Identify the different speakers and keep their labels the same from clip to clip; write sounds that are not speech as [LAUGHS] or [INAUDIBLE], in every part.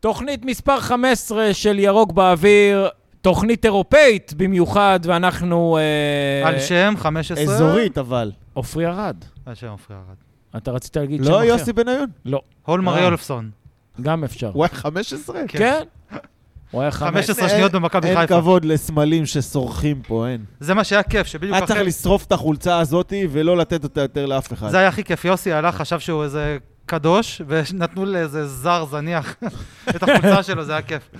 Speaker 1: תוכנית מספר 15 של ירוק באוויר, תוכנית אירופאית במיוחד, ואנחנו... אה,
Speaker 2: על שם 15.
Speaker 3: אזורית, אבל.
Speaker 1: עופרי ארד.
Speaker 2: על שם עופרי ארד.
Speaker 1: אתה רצית להגיד שם
Speaker 3: לא
Speaker 1: אחר.
Speaker 3: יוסי [LAUGHS] בניון?
Speaker 1: לא,
Speaker 2: הולמר
Speaker 3: אה.
Speaker 2: יולפסון.
Speaker 1: גם אפשר.
Speaker 3: הוא היה 15?
Speaker 2: כן.
Speaker 1: כן? הוא היה 15.
Speaker 2: 15
Speaker 3: אין-
Speaker 2: שניות במכבי
Speaker 3: אין
Speaker 2: חיפה.
Speaker 3: כבוד לסמלים שסורחים פה, אין.
Speaker 2: זה מה שהיה כיף, שבדיוק
Speaker 3: היה צריך
Speaker 2: אחרי...
Speaker 3: לשרוף את החולצה הזאתי ולא לתת אותה יותר לאף אחד.
Speaker 2: זה היה הכי כיף. יוסי הלך, חשב שהוא איזה קדוש, ונתנו לאיזה זר זניח את החולצה שלו, זה היה כיף.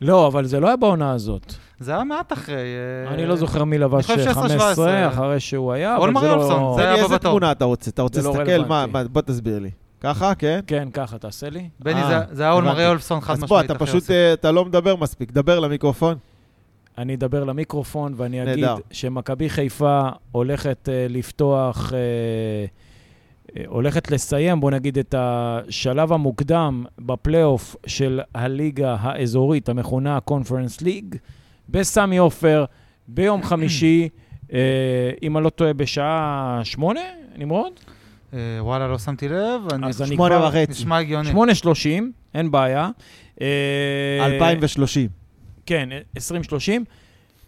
Speaker 1: לא, אבל זה לא היה בעונה הזאת.
Speaker 2: זה היה מעט אחרי... אה,
Speaker 1: אני לא זוכר מי לבש
Speaker 2: אני חושב
Speaker 1: 15
Speaker 2: 16-17.
Speaker 1: אחרי שהוא היה, אבל
Speaker 2: אולמר
Speaker 1: זה
Speaker 2: יולפסון,
Speaker 1: לא...
Speaker 2: זה היה
Speaker 3: בני,
Speaker 2: הבא
Speaker 3: איזה
Speaker 2: בתור.
Speaker 3: תמונה אתה רוצה? אתה רוצה
Speaker 1: זה לא
Speaker 3: להסתכל? מה,
Speaker 1: רלוונטי.
Speaker 3: מה- בוא תסביר לי. ככה, כן?
Speaker 1: כן, ככה, תעשה לי.
Speaker 2: בני,
Speaker 3: אה,
Speaker 2: זה- זה היה הולמר
Speaker 3: הבנתי.
Speaker 2: יולפסון כן, חד
Speaker 3: אז
Speaker 2: משמעית.
Speaker 3: בוא, אתה
Speaker 2: אחרי
Speaker 3: פשוט,
Speaker 2: יוסי.
Speaker 3: אה, אתה לא מדבר מספיק. דבר למיקרופון.
Speaker 1: אני אדבר למיקרופון ואני אגיד
Speaker 3: נהדר.
Speaker 1: שמכבי חיפה הולכת אה, לפתוח, אה, אה, הולכת לסיים, בוא נגיד, את השלב המוקדם בפלייאוף של הליגה האזורית המכונה ה-Conference League בסמי עופר ביום חמישי, אה, אם אני לא טועה, בשעה שמונה, נמרוד?
Speaker 2: אה, וואלה, לא שמתי לב, אני...
Speaker 1: אז אני
Speaker 3: שמונה
Speaker 1: כבר-
Speaker 3: וחצי.
Speaker 2: נשמע הגיוני.
Speaker 1: שמונה שלושים, אין בעיה. אה,
Speaker 3: 2030.
Speaker 1: כן, 2030.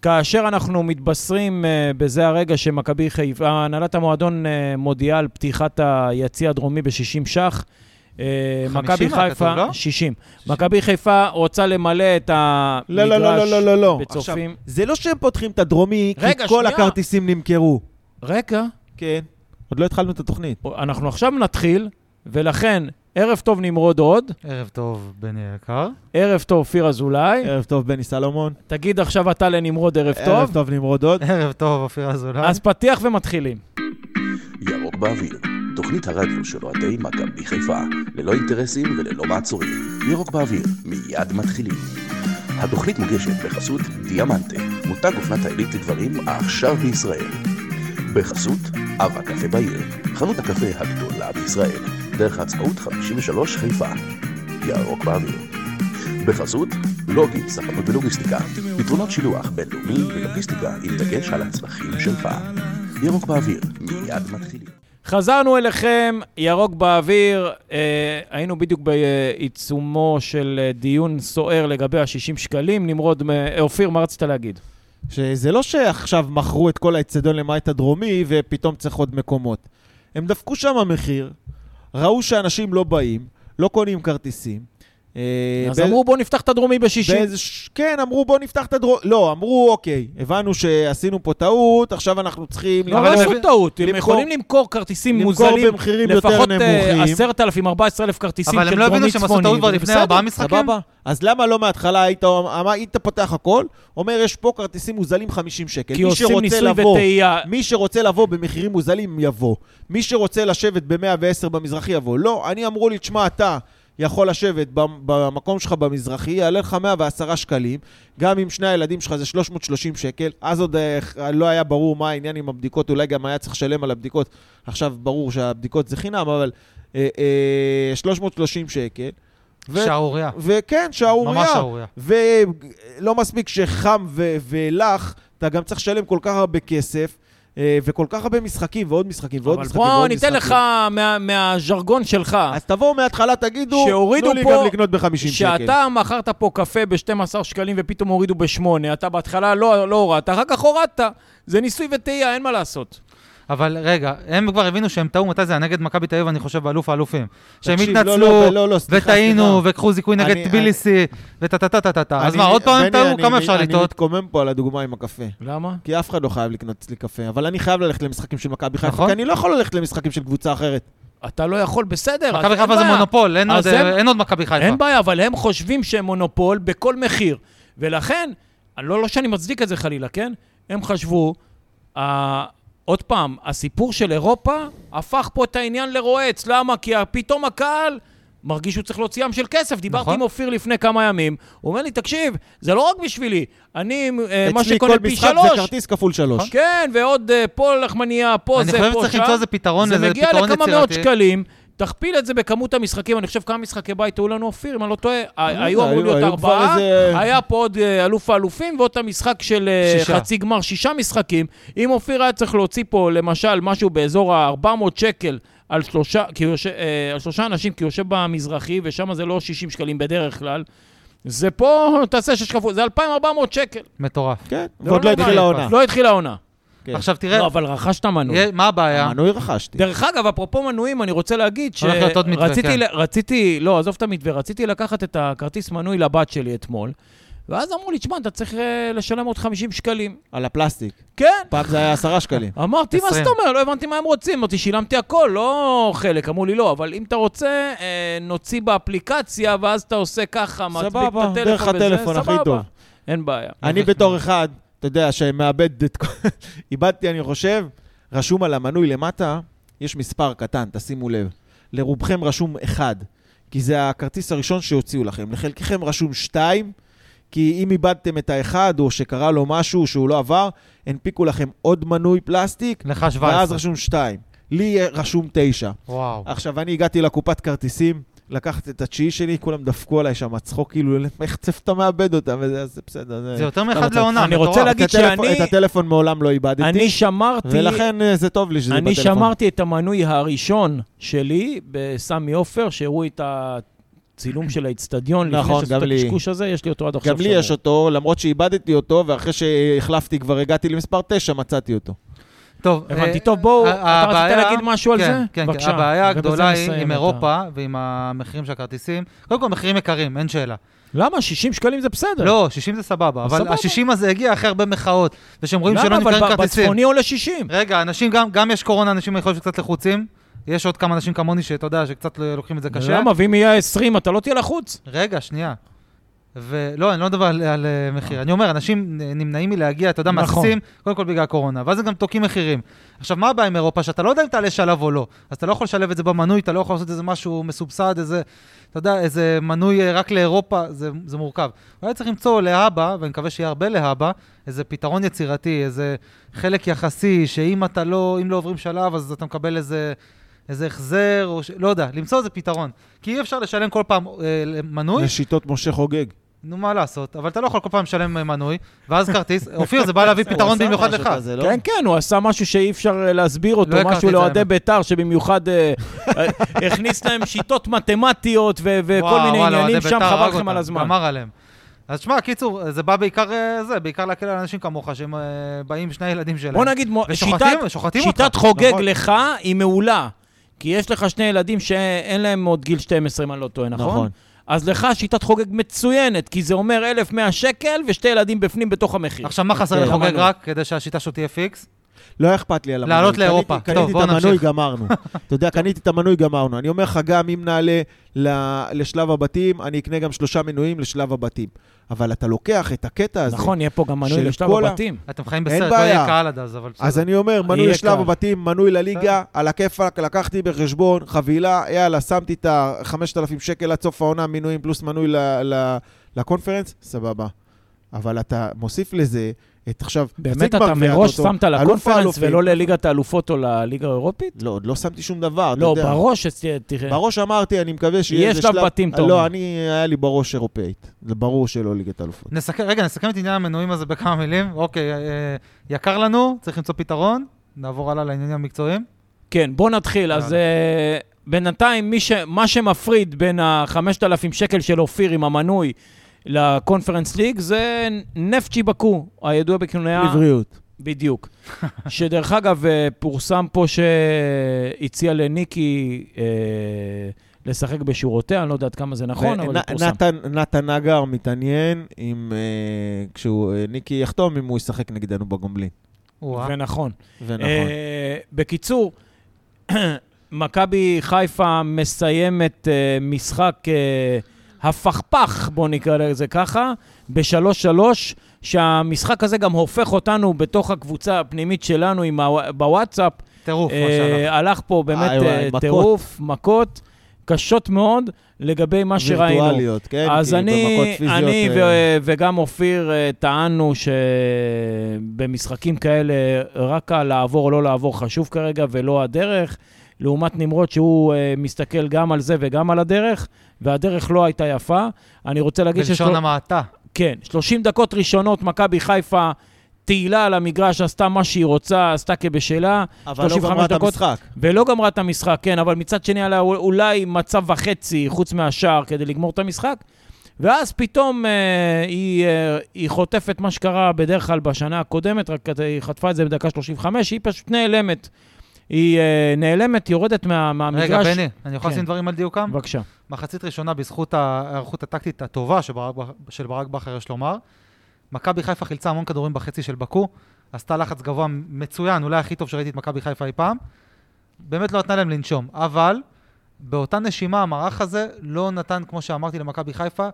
Speaker 1: כאשר אנחנו מתבשרים uh, בזה הרגע שמכבי חיפה, הנהלת המועדון uh, מודיעה על פתיחת היציע הדרומי ב-60 ש"ח. אה,
Speaker 2: 50
Speaker 1: מכבי
Speaker 2: היה כתוב,
Speaker 1: חיפה,
Speaker 2: לא?
Speaker 1: 60. מכבי חיפה רוצה למלא את המגרש
Speaker 3: לא, לא, לא, לא, לא, לא, לא.
Speaker 1: בצופים.
Speaker 3: זה לא שהם פותחים את הדרומי,
Speaker 1: רגע,
Speaker 3: כי כל
Speaker 1: שנייה.
Speaker 3: הכרטיסים נמכרו.
Speaker 1: רגע,
Speaker 3: כן. עוד לא התחלנו את התוכנית.
Speaker 1: אנחנו עכשיו נתחיל, ולכן, ערב טוב נמרוד עוד,
Speaker 2: ערב טוב, בני היקר.
Speaker 1: ערב טוב אופיר אזולאי.
Speaker 2: אוקיי.
Speaker 3: ערב טוב, בני סלומון.
Speaker 1: תגיד עכשיו אתה לנמרוד ערב טוב.
Speaker 3: אה. ערב טוב, נמרוד עוד.
Speaker 2: ערב טוב, אופיר אזולאי.
Speaker 1: אז פתיח ומתחילים.
Speaker 4: ירוק באוויר, תוכנית הרדיו של אוהדי מכבי חיפה, ללא אינטרסים וללא מעצורים. ירוק באוויר, מיד מתחילים. התוכנית מוגשת בחסות דיאמנטה, מותג אופנת העילית לגברים העכשיו בישראל. בחסות אב הקפה בעיר, חנות הקפה הגדולה בישראל, דרך העצמאות 53 חיפה. ירוק באוויר. בחסות לוגי, ספנות ולוגיסטיקה, פתרונות שילוח בינלאומי ולוגיסטיקה עם דגש על הצרכים שלך. ירוק באוויר, מיד מתחילים.
Speaker 1: חזרנו אליכם, ירוק באוויר. אה, היינו בדיוק בעיצומו של אה, דיון סוער לגבי ה-60 שקלים. נמרוד, מ- אה, אופיר, מה רצית להגיד?
Speaker 3: שזה לא שעכשיו מכרו את כל האצטדיון למעט הדרומי ופתאום צריך עוד מקומות. הם דפקו שם מחיר, ראו שאנשים לא באים, לא קונים כרטיסים. אה,
Speaker 1: אז
Speaker 3: בא-
Speaker 1: אמרו, בואו נפתח את הדרומי בשישי.
Speaker 3: באיזה... ש- כן, אמרו בואו נפתח את הדרום... לא, אמרו אוקיי, הבנו שעשינו פה טעות, עכשיו אנחנו צריכים...
Speaker 1: לא,
Speaker 2: אבל
Speaker 1: אבל
Speaker 2: הם
Speaker 1: עשו
Speaker 2: מבין-
Speaker 1: טעות. הם
Speaker 3: למכור-
Speaker 1: יכולים למכור כרטיסים
Speaker 3: למכור
Speaker 1: מוזלים.
Speaker 3: במחירים יותר נמוכים.
Speaker 1: לפחות אה, 10,000, 14,000 כרטיסים של
Speaker 2: אבל
Speaker 1: דרומי
Speaker 2: הם
Speaker 1: צפוני.
Speaker 2: לא הבינו שהם עשו טעות כבר
Speaker 1: זה
Speaker 2: לפני
Speaker 1: בסדר.
Speaker 2: ארבעה משחקים?
Speaker 3: סבבה? אז למה לא מההתחלה היית, אמר- היית פותח הכל, אומר יש פה כרטיסים מוזלים 50 שקל.
Speaker 1: כי
Speaker 3: מי
Speaker 1: עושים
Speaker 3: שרוצה
Speaker 1: ניסוי
Speaker 3: לבוא-
Speaker 1: וטעייה.
Speaker 3: מי שרוצה לבוא במחירים מוזלים, יבוא. מי שרוצה לשבת ב-110 במזרחי, יבוא. לא, אני אמרו לי, תשמע, אתה יכול לשבת במ- במקום שלך במזרחי, יעלה לך 110 שקלים, גם עם שני הילדים שלך זה 330 שקל. אז עוד אה, לא היה ברור מה העניין עם הבדיקות, אולי גם היה צריך לשלם על הבדיקות. עכשיו ברור שהבדיקות זה חינם, אבל אה, אה, 330 שקל. ו-
Speaker 2: שערורייה.
Speaker 3: וכן,
Speaker 2: ממש
Speaker 3: שערורייה.
Speaker 2: שערורייה.
Speaker 3: ולא מספיק שחם ו- ולח, אתה גם צריך לשלם כל כך הרבה כסף, אה, וכל כך הרבה משחקים ועוד משחקים ועוד
Speaker 1: אבל
Speaker 3: משחקים
Speaker 1: בואו
Speaker 3: ועוד
Speaker 1: ניתן
Speaker 3: משחקים.
Speaker 1: לך מה- מהז'רגון שלך.
Speaker 3: אז תבואו מההתחלה, תגידו,
Speaker 1: שהורידו
Speaker 3: תנו לי
Speaker 1: פה-
Speaker 3: גם לקנות ב-50 שקל.
Speaker 1: שאתה מכרת פה קפה ב-12 שקלים ופתאום הורידו ב-8, אתה בהתחלה לא, לא הורדת, אחר כך הורדת. זה ניסוי וטעייה, אין מה לעשות.
Speaker 2: אבל רגע, הם כבר הבינו שהם טעו מתי זה היה נגד מכבי תל אביב, אני חושב, באלוף האלופים. שהם
Speaker 3: תקשיב, לא,
Speaker 2: התנצלו,
Speaker 3: לא, לא, לא, סליחה,
Speaker 2: וטעינו,
Speaker 3: סליחה.
Speaker 2: וקחו זיכוי
Speaker 3: אני-
Speaker 2: נגד טביליסי, וטה-טה-טה-טה-טה. אז
Speaker 3: אני-
Speaker 2: מה, עוד פעם הם
Speaker 3: בני,
Speaker 2: טעו?
Speaker 3: אני-
Speaker 2: כמה אפשר
Speaker 3: אני
Speaker 2: לטעות?
Speaker 3: מתקומם פה על הדוגמה עם הקפה.
Speaker 1: למה?
Speaker 3: כי אף אחד לא חייב לקנות אצלי קפה, אבל אני חייב ללכת למשחקים של מכבי חיפה,
Speaker 2: נכון.
Speaker 3: כי אני לא יכול ללכת למשחקים של קבוצה אחרת.
Speaker 1: אתה לא יכול, בסדר. אז
Speaker 2: מכבי
Speaker 1: אין
Speaker 2: חיפה זה
Speaker 1: בעיה.
Speaker 2: מונופול, אין
Speaker 1: אז
Speaker 2: עוד-
Speaker 1: הם-
Speaker 2: אין עוד מכבי חיפה.
Speaker 1: אין בעיה, אבל הם חושבים שהם מונופול בכל מחיר. ולכן, לא, לא שאני מצדיק את זה חלילה, כן? הם חשבו, אה, עוד פעם, הסיפור של אירופה הפך פה את העניין לרועץ. למה? כי פתאום הקהל מרגיש שהוא צריך להוציא ים של כסף. דיברתי
Speaker 2: נכון.
Speaker 1: עם אופיר לפני כמה ימים, הוא אומר לי, תקשיב, זה לא רק בשבילי, אני, אה, מה
Speaker 3: אצלי
Speaker 1: שקונה
Speaker 3: כל
Speaker 1: פי
Speaker 3: משחק
Speaker 1: שלוש.
Speaker 3: זה כרטיס כול שלוש.
Speaker 1: כן, ועוד אה, פה לחמנייה, פה
Speaker 2: אני
Speaker 1: זה, פה שם.
Speaker 2: חושב שצריך למצוא איזה פתרון, נכון? איזה
Speaker 1: זה
Speaker 2: פתרון
Speaker 1: מגיע לכמה מאות
Speaker 2: יצירתי.
Speaker 1: שקלים, תכפיל את זה בכמות המשחקים, אני חושב כמה משחקי בית היו לנו אופיר, אם אני לא טועה,
Speaker 2: אה,
Speaker 1: ה- היו
Speaker 3: היו-
Speaker 1: אמורים להיות
Speaker 3: היו כבר
Speaker 1: ארבעה,
Speaker 3: איזה-
Speaker 1: היה פה עוד אה, אלוף האלופים ועוד את המשחק של אה,
Speaker 2: שישה.
Speaker 1: חצי גמר, שישה משחקים. אם אופיר היה צריך להוציא פה למשל משהו באזור ה-400 שקל על שלושה, כי הוא יושב, אה, על שלושה אנשים, כי הוא יושב במזרחי, ושם זה לא 60 שקלים בדרך כלל. זה פה, תעשה שש כפול, זה 2,400 שקל.
Speaker 2: מטורף.
Speaker 3: כן,
Speaker 1: זה
Speaker 3: ועוד לא
Speaker 1: נורמלי.
Speaker 3: התחילה העונה.
Speaker 1: לא התחילה העונה.
Speaker 3: כן.
Speaker 2: עכשיו אה. תראה,
Speaker 1: לא, אבל רכשת מנוי.
Speaker 2: יהיה- מה
Speaker 1: לא-
Speaker 2: הבעיה?
Speaker 3: מנוי רכשתי.
Speaker 1: דרך אגב, אפרופו מנויים, אני רוצה להגיד ש...
Speaker 2: הולך להיות עוד מתווה,
Speaker 1: רציתי,
Speaker 2: כן.
Speaker 1: ל- רציתי, לא, עזוב את המתווה, רציתי לקחת את הכרטיס מנוי לבת שלי אתמול, ואז אמרו לי, תשמע, אתה צריך אה, לשלם עוד 50 שקלים.
Speaker 3: על הפלסטיק.
Speaker 1: כן.
Speaker 3: פעם זה היה עשרה שקלים.
Speaker 1: אמרתי, מה
Speaker 2: עשרים.
Speaker 1: זאת אומרת? לא הבנתי מה הם רוצים. אמרתי, שילמתי הכל, לא חלק. אמרו לי, לא, אבל אם אתה רוצה, אה, נוציא באפליקציה, ואז אתה עושה ככה, מצביק את
Speaker 3: סבבה,
Speaker 1: הטלפון.
Speaker 3: דרך
Speaker 1: וזה,
Speaker 3: הטלפון, הכי
Speaker 1: סבבה.
Speaker 3: טוב.
Speaker 1: אין בעיה.
Speaker 3: אני בתור אחד, אתה יודע, שמאבד את כל... [LAUGHS] איבדתי, אני חושב, רשום על המנוי למטה, יש מספר קטן, תשימו לב. לרובכם רשום 1, כי זה הכרטיס הראשון שהוציאו לכם. לחלקכם רשום 2, כי אם איבדתם את האחד, או שקרה לו משהו שהוא לא עבר, הנפיקו לכם עוד מנוי פלסטיק,
Speaker 2: לך 17.
Speaker 3: ואז רשום 2. לי יהיה רשום 9.
Speaker 2: וואו.
Speaker 1: אה,
Speaker 3: עכשיו, אני הגעתי לקופת כרטיסים, לקחתי את התשיעי שלי, כולם דפקו עליי שם מצחוק, כאילו, איך צפת מאבד אותם, וזה אז זה בסדר.
Speaker 2: זה יותר מאחד
Speaker 3: מצחיק.
Speaker 2: לעונה,
Speaker 1: אני
Speaker 2: מטורף.
Speaker 1: רוצה
Speaker 3: את
Speaker 1: להגיד
Speaker 3: הטלפון-
Speaker 1: שאני-
Speaker 3: את הטלפון מעולם לא איבדתי,
Speaker 1: אני שמרתי...
Speaker 3: ולכן אה, זה טוב לי שזה
Speaker 1: אני
Speaker 3: בטלפון.
Speaker 1: שמרתי את המנוי הראשון שלי בסמי עופר, שהראו את הצילום של האיצטדיון.
Speaker 3: נכון,
Speaker 1: לפני
Speaker 3: גם
Speaker 1: שעשו
Speaker 3: לי.
Speaker 1: את הקשקוש הזה, יש לי אותו עד עכשיו.
Speaker 3: גם לי
Speaker 1: שמור.
Speaker 3: יש אותו, למרות שאיבדתי אותו, ואחרי שהחלפתי כבר הגעתי למספר 9, מצאתי אותו.
Speaker 2: טוב,
Speaker 1: הבנתי.
Speaker 2: אה,
Speaker 1: טוב, בואו,
Speaker 2: ה-
Speaker 1: אתה רצית
Speaker 2: הבעיה-
Speaker 1: להגיד משהו על
Speaker 2: כן,
Speaker 1: זה?
Speaker 2: כן, כן,
Speaker 1: בבקשה,
Speaker 2: הבעיה
Speaker 1: ובזה
Speaker 2: הגדולה היא
Speaker 1: נסיים
Speaker 2: עם
Speaker 1: אותה.
Speaker 2: אירופה ועם המחירים של הכרטיסים. קודם כל, מחירים יקרים, אין שאלה.
Speaker 1: למה? 60 שקלים זה בסדר.
Speaker 2: לא, 60 זה סבבה, אבל
Speaker 1: סבבה.
Speaker 2: ה-60 הזה הגיע אחרי הרבה מחאות, ושהם רואים שלא
Speaker 1: למה?
Speaker 2: נמכרים
Speaker 1: אבל ב-
Speaker 2: כרטיסים. כן,
Speaker 1: בצפוני עולה 60.
Speaker 2: רגע, אנשים גם, גם יש קורונה, אנשים יכול להיות שקצת לחוצים. יש עוד כמה אנשים כמוני שאתה יודע, שקצת לא- לוקחים את זה קשה.
Speaker 1: למה? ואם יהיה 20, אתה לא תהיה לחוץ.
Speaker 2: רגע, שנייה. ולא, אני לא מדבר על, על אה, מחיר. אני אומר, אנשים אה, נמנעים מלהגיע, אתה יודע,
Speaker 1: נכון.
Speaker 2: מהססים, קודם כל בגלל הקורונה, ואז הם גם תוקעים מחירים. עכשיו, מה הבעיה עם אירופה? שאתה לא יודע אם תעלה שלב או לא. אז אתה לא יכול לשלב את זה במנוי, אתה לא יכול לעשות איזה משהו מסובסד, איזה, אתה יודע, איזה מנוי אה, רק לאירופה, זה, זה מורכב. אולי צריך למצוא להבא, ואני מקווה שיהיה הרבה להבא, איזה פתרון יצירתי, איזה חלק יחסי, שאם אתה לא, אם לא עוברים שלב, אז אתה מקבל איזה... איזה החזר, או ש... לא יודע, למצוא איזה פתרון. כי אי אפשר לשלם כל פעם אה, מנוי,
Speaker 3: יש שיטות משה חוגג.
Speaker 2: נו, מה לעשות? אבל אתה לא יכול כל פעם לשלם אה, מנוי, ואז כרטיס. [LAUGHS] אופיר, זה בא להביא פתרון במיוחד לך.
Speaker 1: כן, כן, הוא עשה משהו שאי אפשר אה, להסביר אותו,
Speaker 2: לא הכרתי
Speaker 1: משהו
Speaker 2: את זה,
Speaker 1: לאוהדי
Speaker 2: האמת.
Speaker 1: בית"ר, שבמיוחד אה, אה, [LAUGHS] הכניס להם שיטות מתמטיות ו- וכל
Speaker 2: וואו,
Speaker 1: מיני
Speaker 2: וואו,
Speaker 1: עניינים
Speaker 2: אוהדי
Speaker 1: שם,
Speaker 2: בית"ר
Speaker 1: חבל
Speaker 2: הרג
Speaker 1: לכם
Speaker 2: אותם,
Speaker 1: על הזמן.
Speaker 2: גמר עליהם. אז שמע, קיצור, זה בא בעיקר אה, זה, בעיקר להקל על אנשים כמוך, שהם אה, באים עם שני הילדים שלהם.
Speaker 1: בוא נגיד, מו- שיטת,
Speaker 2: ושוחטים שוחטים אותך.
Speaker 1: שיטת חוגג
Speaker 3: נכון.
Speaker 1: לך היא מעולה, כי יש לך שני ילדים שאין להם עוד גיל 12, אם אני לא טועה, נכון?
Speaker 3: נכון.
Speaker 1: אז לך שיטת חוגג מצוינת, כי זה אומר 1,100 שקל ושתי ילדים בפנים בתוך המחיר.
Speaker 2: עכשיו, מה חסר
Speaker 3: אוקיי,
Speaker 2: לחוגג
Speaker 1: למנוי.
Speaker 2: רק, כדי שהשיטה שלו תהיה פיקס?
Speaker 3: לא היה אכפת לי על המנוי.
Speaker 2: לעלות
Speaker 3: קניתי-
Speaker 2: לאירופה. טוב,
Speaker 3: קניתי
Speaker 2: בואו
Speaker 3: את המנוי,
Speaker 2: נמשיך. [LAUGHS]
Speaker 3: גמרנו. אתה יודע, קניתי את המנוי, גמרנו. אני אומר לך, גם אם נעלה ל- לשלב הבתים, אני אקנה גם שלושה מנויים לשלב הבתים. אבל אתה לוקח את הקטע הזה.
Speaker 1: נכון, יהיה פה גם מנוי
Speaker 3: של
Speaker 1: לשלב
Speaker 3: כל ה-
Speaker 1: הבתים.
Speaker 2: אתם חיים
Speaker 3: אין
Speaker 2: בסרט, לא
Speaker 3: בעיה.
Speaker 2: יהיה קהל עד אז, אבל
Speaker 3: אז
Speaker 2: בסדר.
Speaker 3: אני אומר, מנוי
Speaker 1: יהיה
Speaker 3: לשלב
Speaker 1: קל.
Speaker 3: הבתים, מנוי לליגה, על הכיפאק, לקחתי בחשבון, חבילה, יאללה, שמתי את ה-5,000 שקל עד סוף העונה, מינויים פלוס מנוי ל- ל- לקונפרנס, סבבה. אבל אתה מוסיף לזה את עכשיו...
Speaker 1: באמת
Speaker 3: חצי
Speaker 1: אתה
Speaker 3: גמר גביע
Speaker 1: מראש
Speaker 3: הטוטו,
Speaker 1: שמת
Speaker 3: אלוף
Speaker 1: לקונפרנס
Speaker 3: האלופים.
Speaker 1: ולא לליגת האלופות או לליגה האירופית?
Speaker 3: לא, עוד לא שמתי שום דבר, אתה
Speaker 1: לא,
Speaker 3: יודע.
Speaker 1: בראש שת- תראה.
Speaker 3: בראש אמרתי, אני מקווה שיהיה
Speaker 1: יהיה
Speaker 3: איזה
Speaker 1: שלב כן. בתים, אתה אומר.
Speaker 3: לא, אני, היה לי בראש אירופאית. זה ברור שלא ליגת אלופות.
Speaker 2: נסכם, רגע, נסכם את עניין המנויים הזה בכמה מילים. אוקיי, אה, יקר לנו, צריך למצוא פתרון. נעבור הלאה לעניינים המקצועיים.
Speaker 1: כן, בוא נתחיל. אז
Speaker 2: יאללה.
Speaker 1: אה, בינתיים, מי ש- מה שמפריד בין ה-5,000 שקל של אופיר עם המנוי לקונפרנס ליג זה נפצ'י בקו, הידוע בכינויה...
Speaker 3: לבריאות.
Speaker 1: בדיוק. [LAUGHS] שדרך אגב, אה, פורסם פה שהציע לניקי אה, לשחק בשורותיה, אני לא יודע עד כמה זה נכון, אבל זה
Speaker 3: ונ-
Speaker 1: פורסם.
Speaker 3: נתן- נתן נגר מתעניין אם אה, כשהוא, אה, ניקי יחתום, אם הוא ישחק נגדנו בגומלין.
Speaker 2: וואה.
Speaker 1: ונכון.
Speaker 3: ונכון.
Speaker 1: אה, בקיצור, [CLEARS THROAT] מכבי חיפה מסיימת אה, משחק אה, הפכפך, בואו נקרא לזה ככה, בשלוש-שלוש, שהמשחק הזה גם הופך אותנו בתוך הקבוצה הפנימית שלנו עם הוו- בוואטסאפ.
Speaker 2: טירוף, מה
Speaker 1: אה,
Speaker 2: שהלך.
Speaker 1: הלך פה באמת
Speaker 3: איי, וואי,
Speaker 1: אה,
Speaker 3: מכות.
Speaker 1: טירוף, מכות קשות מאוד לגבי מה שראינו.
Speaker 3: וירטואליות, כן?
Speaker 1: אז
Speaker 3: כי במכות
Speaker 1: אני,
Speaker 3: פיזיות,
Speaker 1: אני
Speaker 3: אה,
Speaker 1: ו- וגם אופיר אה, טענו שבמשחקים כאלה רק הלעבור או לא לעבור חשוב כרגע ולא הדרך, לעומת נמרוד שהוא אה, מסתכל גם על זה וגם על הדרך, והדרך לא הייתה יפה. אני רוצה להגיד ששלו-
Speaker 2: בלשון המעטה.
Speaker 1: כן, 30 דקות ראשונות מכבי חיפה תהילה על המגרש, עשתה מה שהיא רוצה, עשתה כבשלה,
Speaker 3: אבל לא
Speaker 1: 35
Speaker 3: גמרה את
Speaker 1: דקות.
Speaker 3: המשחק.
Speaker 1: ולא גמרה את המשחק, כן, אבל מצד שני עלה אול- אולי מצב וחצי חוץ מהשער כדי לגמור את המשחק. ואז פתאום אה, היא, אה, היא חוטפת מה שקרה בדרך כלל בשנה הקודמת, רק כת- היא חטפה את זה בדקה 35, היא פשוט נעלמת. היא אה, נעלמת, יורדת מה, מהמגרש.
Speaker 2: רגע, בני, אני יכול
Speaker 1: כן.
Speaker 2: לשים דברים על דיוקם?
Speaker 1: בבקשה.
Speaker 2: מחצית ראשונה בזכות ההיערכות הטקטית הטובה שברק בכר- של ברק בכר, יש לומר. מכבי חיפה חילצה המון כדורים בחצי של בקו, עשתה לחץ גבוה מצוין, אולי הכי טוב שראיתי את מכבי חיפה אי פעם. באמת לא נתנה להם לנשום, אבל באותה נשימה המערך הזה לא נתן, כמו שאמרתי, למכבי חיפה,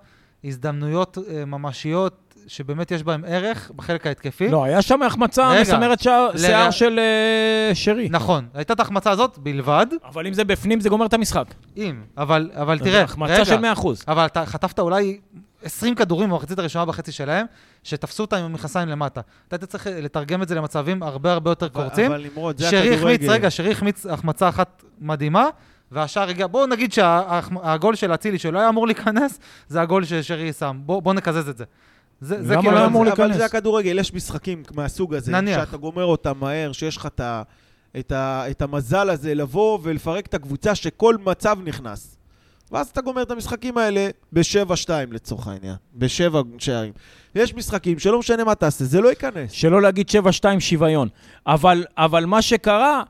Speaker 2: הזדמנויות אה, ממשיות שבאמת יש בהן ערך בחלק ההתקפי.
Speaker 1: לא, היה שם החמצה
Speaker 2: רגע,
Speaker 1: מסמרת שער-
Speaker 2: לרגע-
Speaker 1: שיער של אה, שרי.
Speaker 2: נכון, הייתה את ההחמצה הזאת בלבד,
Speaker 1: אבל אם זה בפנים, זה גומר את המשחק.
Speaker 2: אם, אבל, אבל תראה, רגע,
Speaker 1: החמצה של 100%.
Speaker 2: אבל אתה חטפת אולי 20 כדורים במחצית הראשונה בחצי שלהם, שתפסו אותם עם המכנסיים למטה. אתה היית צריך לתרגם את זה למצבים הרבה הרבה יותר קורצים.
Speaker 3: אבל נמרוד, זה
Speaker 2: שרי החמיץ,
Speaker 3: הכדורגל.
Speaker 2: רגע, שרי החמיץ החמצה אחת מדהימה, והשאר הגיע, בואו נגיד שהגול של אצילי שלא היה אמור להיכנס, זה הגול ששרי שם. בואו בוא נקזז את זה. זה, זה
Speaker 1: למה
Speaker 2: כאילו...
Speaker 1: לא
Speaker 2: זה-
Speaker 1: אמור
Speaker 2: זה-
Speaker 1: להיכנס?
Speaker 3: אבל זה הכדורגל, יש משחקים מהסוג הזה.
Speaker 2: נניח.
Speaker 3: שאתה גומר אותם מהר, שיש לך את ה- את ה- את המזל הזה לבוא ולפרק את הקבוצה שכל מצב נכנס. ואז אתה גומר את המשחקים האלה ב-7-2 לצורך העניין, בשבע שערים. יש משחקים שלא משנה מה תעשה, זה לא ייכנס.
Speaker 1: שלא להגיד 7-2 שוויון. אבל, אבל מה שקרה,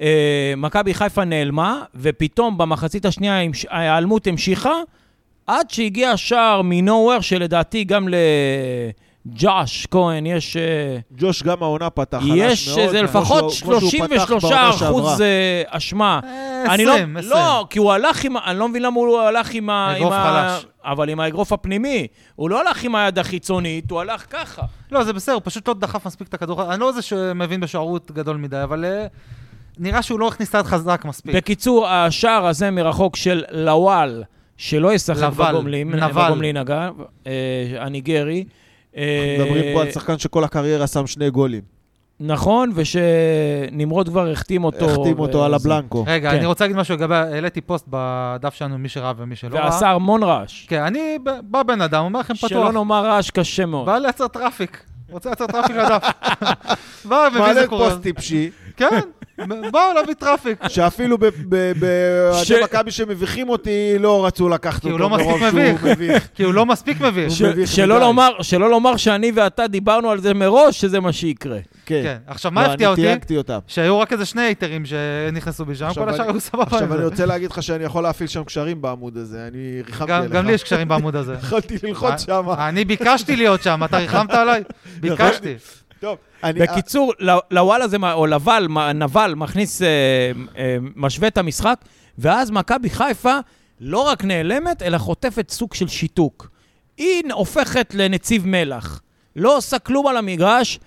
Speaker 1: אה, מכבי חיפה נעלמה, ופתאום במחצית השנייה המש- ההיעלמות המשיכה, עד שהגיע שער מנוהוור, שלדעתי גם לג'אש כהן יש... אה,
Speaker 3: ג'וש גם העונה פתח חלש מאוד.
Speaker 1: יש איזה
Speaker 3: כמו
Speaker 1: לפחות
Speaker 3: שהוא- כמו שהוא פתח
Speaker 1: 33
Speaker 3: בעונה שעברה.
Speaker 1: אחוז אה, אשמה.
Speaker 2: אה,
Speaker 1: אני לא-
Speaker 2: 20, 20.
Speaker 1: לא, כי הוא הלך עם... ה- אני לא מבין למה הוא הלך עם ה... עם
Speaker 2: אגרוף
Speaker 1: ה-
Speaker 2: חלש.
Speaker 1: אבל עם האגרוף הפנימי. הוא לא הלך עם היד החיצונית, הוא הלך ככה.
Speaker 2: לא, זה בסדר, הוא פשוט לא דחף מספיק את הכדור. אני לא איזה שמבין בשוערות גדול מדי, אבל אה, נראה שהוא לא הכניס את היד חזק מספיק.
Speaker 1: בקיצור, השער הזה מרחוק של לוואל, שלא ישחק
Speaker 2: לבל,
Speaker 1: בגומלין,
Speaker 2: נבל.
Speaker 1: בגומלין אגב, אה, הניגרי. אה,
Speaker 3: מדברים פה על שחקן שכל הקריירה שם שני גולים.
Speaker 1: נכון, ושנמרוד כבר החתים אותו.
Speaker 3: החתים אותו
Speaker 1: וזה.
Speaker 3: על הבלנקו.
Speaker 2: רגע,
Speaker 1: כן.
Speaker 2: אני רוצה להגיד משהו לגבי, העליתי פוסט בדף שלנו, מי שראה ומי שלא ראה.
Speaker 1: ועשה המון רעש.
Speaker 2: כן, אני ב- בא בן אדם, אומר
Speaker 3: כן,
Speaker 2: לכם פתוח.
Speaker 1: שלא נאמר רעש קשה מאוד.
Speaker 2: בא לייצר טראפיק. רוצה לייצר טראפיק
Speaker 3: [LAUGHS]
Speaker 2: לדף. בא, מביא
Speaker 3: מעלה
Speaker 2: זה קורה.
Speaker 3: פוסט טיפשי,
Speaker 2: כן, בא להביא
Speaker 3: [LAUGHS]
Speaker 2: טראפיק.
Speaker 3: שאפילו באוהדי
Speaker 1: ש-
Speaker 3: מכבי שמביכים אותי, לא רצו לקחת
Speaker 2: כי הוא
Speaker 3: אותו
Speaker 2: לא מספיק
Speaker 3: מרוב שהוא
Speaker 2: מביך.
Speaker 3: מביך.
Speaker 2: [LAUGHS] כי הוא לא מספיק מביש.
Speaker 1: ש-
Speaker 3: מביך
Speaker 1: שלא
Speaker 3: מדי.
Speaker 1: לומר- שלא לומר שאני ואתה דיברנו על זה מראש, שזה מה שיקרה.
Speaker 2: כן. עכשיו, מה הפתיע
Speaker 3: לא,
Speaker 2: אותי?
Speaker 3: אני תייגתי אותם.
Speaker 2: שהיו רק איזה שני היתרים שנכנסו בי שם,
Speaker 3: עכשיו
Speaker 2: כל השאר
Speaker 3: אני-
Speaker 2: היו סבבה עם
Speaker 3: עכשיו, אני
Speaker 2: נכון, זה.
Speaker 3: רוצה להגיד לך שאני יכול להפעיל שם קשרים בעמוד הזה, אני ריחמתי
Speaker 2: גם-
Speaker 3: עליך.
Speaker 2: גם לי יש קשרים בעמוד הזה.
Speaker 3: [LAUGHS]
Speaker 2: אה,
Speaker 3: יכולתי ללחוץ שם.
Speaker 2: אני ביקשתי להיות שם, אתה ריחמת
Speaker 3: [LAUGHS]
Speaker 2: עליי? ביקשתי.
Speaker 3: טוב, אני...
Speaker 1: בקיצור, ל- לוואלה זה, מה- או לבל, מה- נבל, מכניס, אה, אה, משווה את המשחק, ואז מכבי חיפה לא רק נעלמת, אלא חוטפת סוג של שיתוק. היא הופכת לנציב מלח. לא עושה כלום על המגרש,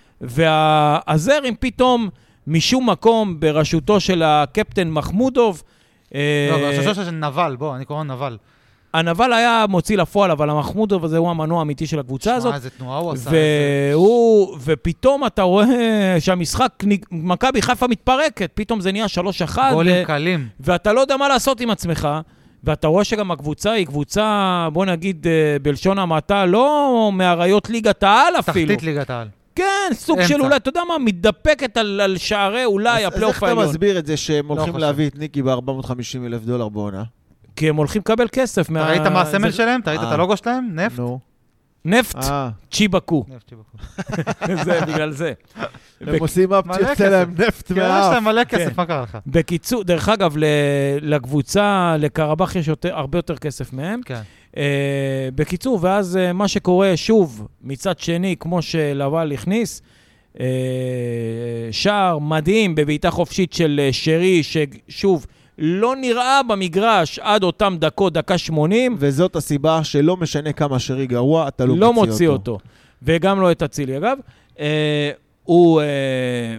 Speaker 1: והזרים פתאום, משום מקום, בראשותו של הקפטן מחמודוב, אה,
Speaker 2: לא, אבל השלושה של נבל, בוא, אני קורא לו נבל.
Speaker 1: הנבל היה מוציא לפועל, אבל המחמודוב הזה הוא המנוע האמיתי של הקבוצה הזאת.
Speaker 2: מה, איזה תנועה הוא עשה. איזה-
Speaker 1: והוא, ופתאום אתה רואה שהמשחק, נג- מכבי חיפה מתפרקת, פתאום זה נהיה 3-1, ו-
Speaker 3: אה,
Speaker 2: גולים קלים.
Speaker 1: ואתה לא יודע מה לעשות עם עצמך, ואתה רואה שגם הקבוצה היא קבוצה, בוא נגיד, אה, בלשון המעטה, לא מאריות ליגת העל אפילו.
Speaker 2: תחתית ליגת העל.
Speaker 1: כן, סוג
Speaker 2: אמצע.
Speaker 1: של אולי, אתה יודע מה, מתדפקת על, על שערי אולי
Speaker 3: אז- אז
Speaker 1: הפלייאוף
Speaker 3: איך אתה
Speaker 1: העליון.
Speaker 3: מסביר את זה שהם הולכים
Speaker 2: חושב.
Speaker 3: להביא את ניקי ב-450 אלף דולר בעונה?
Speaker 1: כי הם הולכים לקבל כסף
Speaker 2: אתה
Speaker 1: מה...
Speaker 2: ראית מה הסמל
Speaker 1: זה-
Speaker 2: שלהם? אתה ראית את
Speaker 3: אה.
Speaker 2: הלוגו שלהם? נפט?
Speaker 3: נו.
Speaker 1: נפט
Speaker 2: [LAUGHS]
Speaker 3: אה,
Speaker 1: צ'יבקו,
Speaker 2: נפט שבחוץ.
Speaker 1: [LAUGHS] זה בגלל זה.
Speaker 3: הם עושים אפ
Speaker 2: מלא
Speaker 3: שיוצא
Speaker 2: כסף.
Speaker 3: להם נפט
Speaker 2: כן, יש
Speaker 3: מהאף.
Speaker 2: להם מלא
Speaker 1: כן.
Speaker 2: כסף, מה קרה לך?
Speaker 1: בקיצור, דרך אגב, ל- לקבוצה, לקרבח יש יותר, הרבה יותר כסף מהם.
Speaker 2: כן.
Speaker 1: Uh, בקיצור, ואז uh, מה שקורה, שוב, מצד שני, כמו שלבל הכניס, uh, שער מדהים בבעיטה חופשית של uh, שרי, ששוב, לא נראה במגרש עד אותם דקות, דקה 80,
Speaker 3: וזאת הסיבה שלא משנה כמה שרי גרוע, אתה
Speaker 1: לא, לא מוציא אותו. אותו. וגם לא את אצילי, אגב. Uh, הוא uh,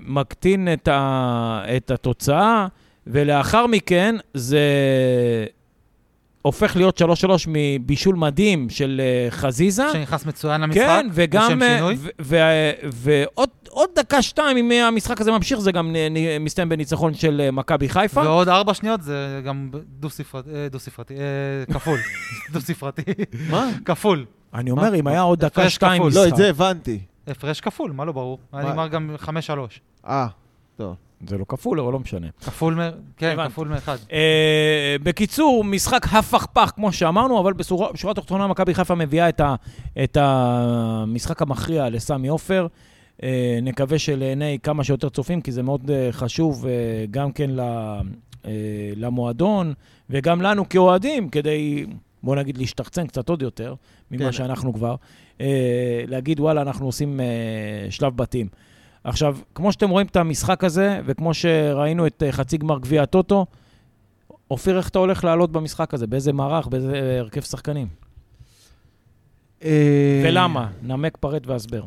Speaker 1: מקטין את, ה, את התוצאה, ולאחר מכן זה הופך להיות 3-3 מבישול מדהים של uh, חזיזה.
Speaker 2: שנכנס מצוין למשחק?
Speaker 1: כן, וגם...
Speaker 2: לשם
Speaker 1: אה,
Speaker 2: שינוי?
Speaker 1: ו- ו- אה, ועוד עוד דקה-שתיים, אם אה, המשחק הזה ממשיך, זה גם נ- נ- מסתיים בניצחון של אה, מכבי חיפה.
Speaker 2: ועוד ארבע שניות זה גם דו-ספרתי, אה, דו-ספרתי,
Speaker 1: [LAUGHS]
Speaker 2: אה, כפול. דו-ספרתי.
Speaker 3: מה?
Speaker 2: כפול.
Speaker 1: אני אומר, אם היה עוד דקה-שתיים
Speaker 2: כפול.
Speaker 1: משחק.
Speaker 3: לא, את זה הבנתי.
Speaker 2: הפרש כפול, מה לא ברור? היה
Speaker 3: מה?
Speaker 2: נגמר גם 5-3.
Speaker 3: אה, טוב.
Speaker 1: זה לא כפול, אבל לא משנה.
Speaker 2: כפול מ... כן,
Speaker 1: הבנתי.
Speaker 2: כפול מאחד.
Speaker 1: אה, בקיצור, משחק הפכפך, כמו שאמרנו, אבל בשורה בשורה התחתונה מכבי חיפה מביאה את, ה, את המשחק המכריע לסמי עופר. אה, נקווה שלעיני כמה שיותר צופים, כי זה מאוד אה, חשוב אה, גם כן ל, אה, למועדון, וגם לנו כאוהדים, כדי, בוא נגיד, להשתחצן קצת עוד יותר ממה
Speaker 3: כן.
Speaker 1: שאנחנו כבר. אה, להגיד, וואלה, אנחנו עושים אה, שלב בתים. עכשיו, כמו שאתם רואים את המשחק הזה, וכמו שראינו את אה, חצי גמר גביע הטוטו, אופיר, איך אתה הולך לעלות במשחק הזה? באיזה מערך? באיזה אה, הרכב שחקנים?
Speaker 3: אה,
Speaker 1: ולמה? נמק, פרט והסבר.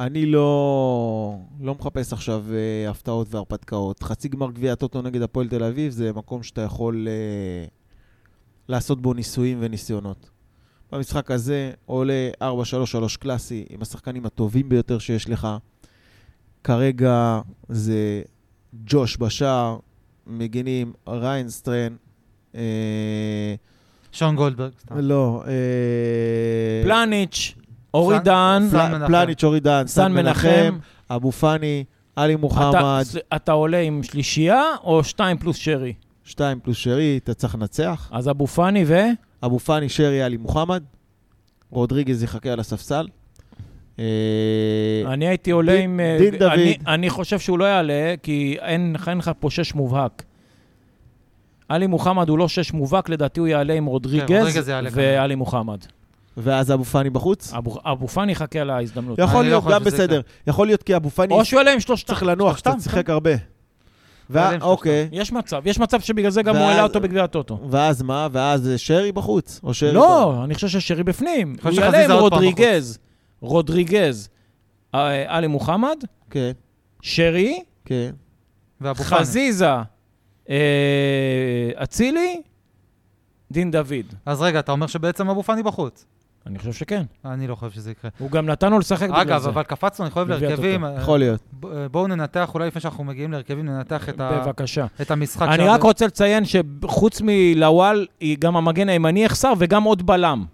Speaker 3: אני לא, לא מחפש עכשיו אה, הפתעות והרפתקאות. חצי גמר גביע הטוטו נגד הפועל תל אביב זה מקום שאתה יכול אה, לעשות בו ניסויים וניסיונות. במשחק הזה עולה 4-3-3 קלאסי עם השחקנים הטובים ביותר שיש לך. כרגע זה ג'וש בשער, מגינים ריינסטרן. אה,
Speaker 2: שון גולדברג, סתם.
Speaker 3: לא, אה,
Speaker 1: פלניץ', אורי
Speaker 2: סן-
Speaker 1: דהן,
Speaker 2: סן
Speaker 3: פל-
Speaker 2: מנחם.
Speaker 3: פלניץ', אורי דהן,
Speaker 1: סן מנחם.
Speaker 3: אבו פאני, עלי
Speaker 1: אתה-
Speaker 3: מוחמד,
Speaker 1: ס- אתה עולה עם שלישייה או שתיים פלוס שרי?
Speaker 3: שתיים פלוס שרי, אתה צריך לנצח.
Speaker 1: אז אבו פאני ו...
Speaker 3: אבו פאני, שרי, עלי מוחמד, רודריגז יחכה על הספסל. אה,
Speaker 1: אני הייתי עולה
Speaker 3: דין-
Speaker 1: עם... אה,
Speaker 3: דין
Speaker 1: אני-
Speaker 3: דוד.
Speaker 1: אני חושב שהוא לא יעלה, כי אין אין לך פה שש מובהק. עלי מוחמד הוא לא שש מובהק, לדעתי הוא יעלה עם
Speaker 2: כן, רודריגז
Speaker 1: רודריגז
Speaker 2: יעלה כנראה.
Speaker 1: ועלי מוחמד.
Speaker 3: ואז אבו פאני בחוץ?
Speaker 1: אבו- אבו פאני יחכה על ההזדמנות.
Speaker 3: יכול
Speaker 2: אני לא
Speaker 3: להיות,
Speaker 2: יכול
Speaker 3: גם
Speaker 2: לזה
Speaker 3: בסדר. יכול להיות כי אבו פאני
Speaker 1: או שהוא כן. לא יעלה עם שלושתם.
Speaker 3: צריך לנוח, אתה
Speaker 2: שלושתם,
Speaker 3: שיחק הרבה. ו-
Speaker 2: יעלה עם שלושתם.
Speaker 3: אוקיי,
Speaker 1: יש מצב, יש מצב שבגלל זה גם הוא
Speaker 3: ואז-
Speaker 1: העלה אותו בגביע הטוטו.
Speaker 3: ואז מה? ואז אה, שרי בחוץ? או שרי בחוץ?
Speaker 1: לא, אני חושב ששרי בפנים.
Speaker 2: חושב
Speaker 1: הוא יעלה עם
Speaker 2: שחזיזה עוד פעם
Speaker 1: רודריגז, רודריגז, אה, עלי מוחמד,
Speaker 3: כן,
Speaker 1: שרי,
Speaker 3: כן.
Speaker 2: ואבו פאני.
Speaker 1: חזיזה, אה, אצילי, דין דוד.
Speaker 2: אז רגע, אתה אומר שבעצם אבו פאני בחוץ.
Speaker 1: אני חושב שכן.
Speaker 2: אני לא חושב שזה יקרה.
Speaker 1: הוא גם נתן לו לשחק בגלל
Speaker 2: אגב,
Speaker 1: זה.
Speaker 2: אבל קפצנו, אני חושב
Speaker 1: מביא את נכון.
Speaker 2: להרכבים. אה,
Speaker 3: יכול להיות.
Speaker 2: ב- בואו ננתח, אולי לפני שאנחנו מגיעים להרכבים, ננתח את ה-
Speaker 1: בבקשה.
Speaker 2: את המשחק.
Speaker 1: אני
Speaker 2: שהיה-
Speaker 1: רק רוצה לציין שחוץ מלוואל, היא גם המגן הימני יחסר וגם עוד בלם.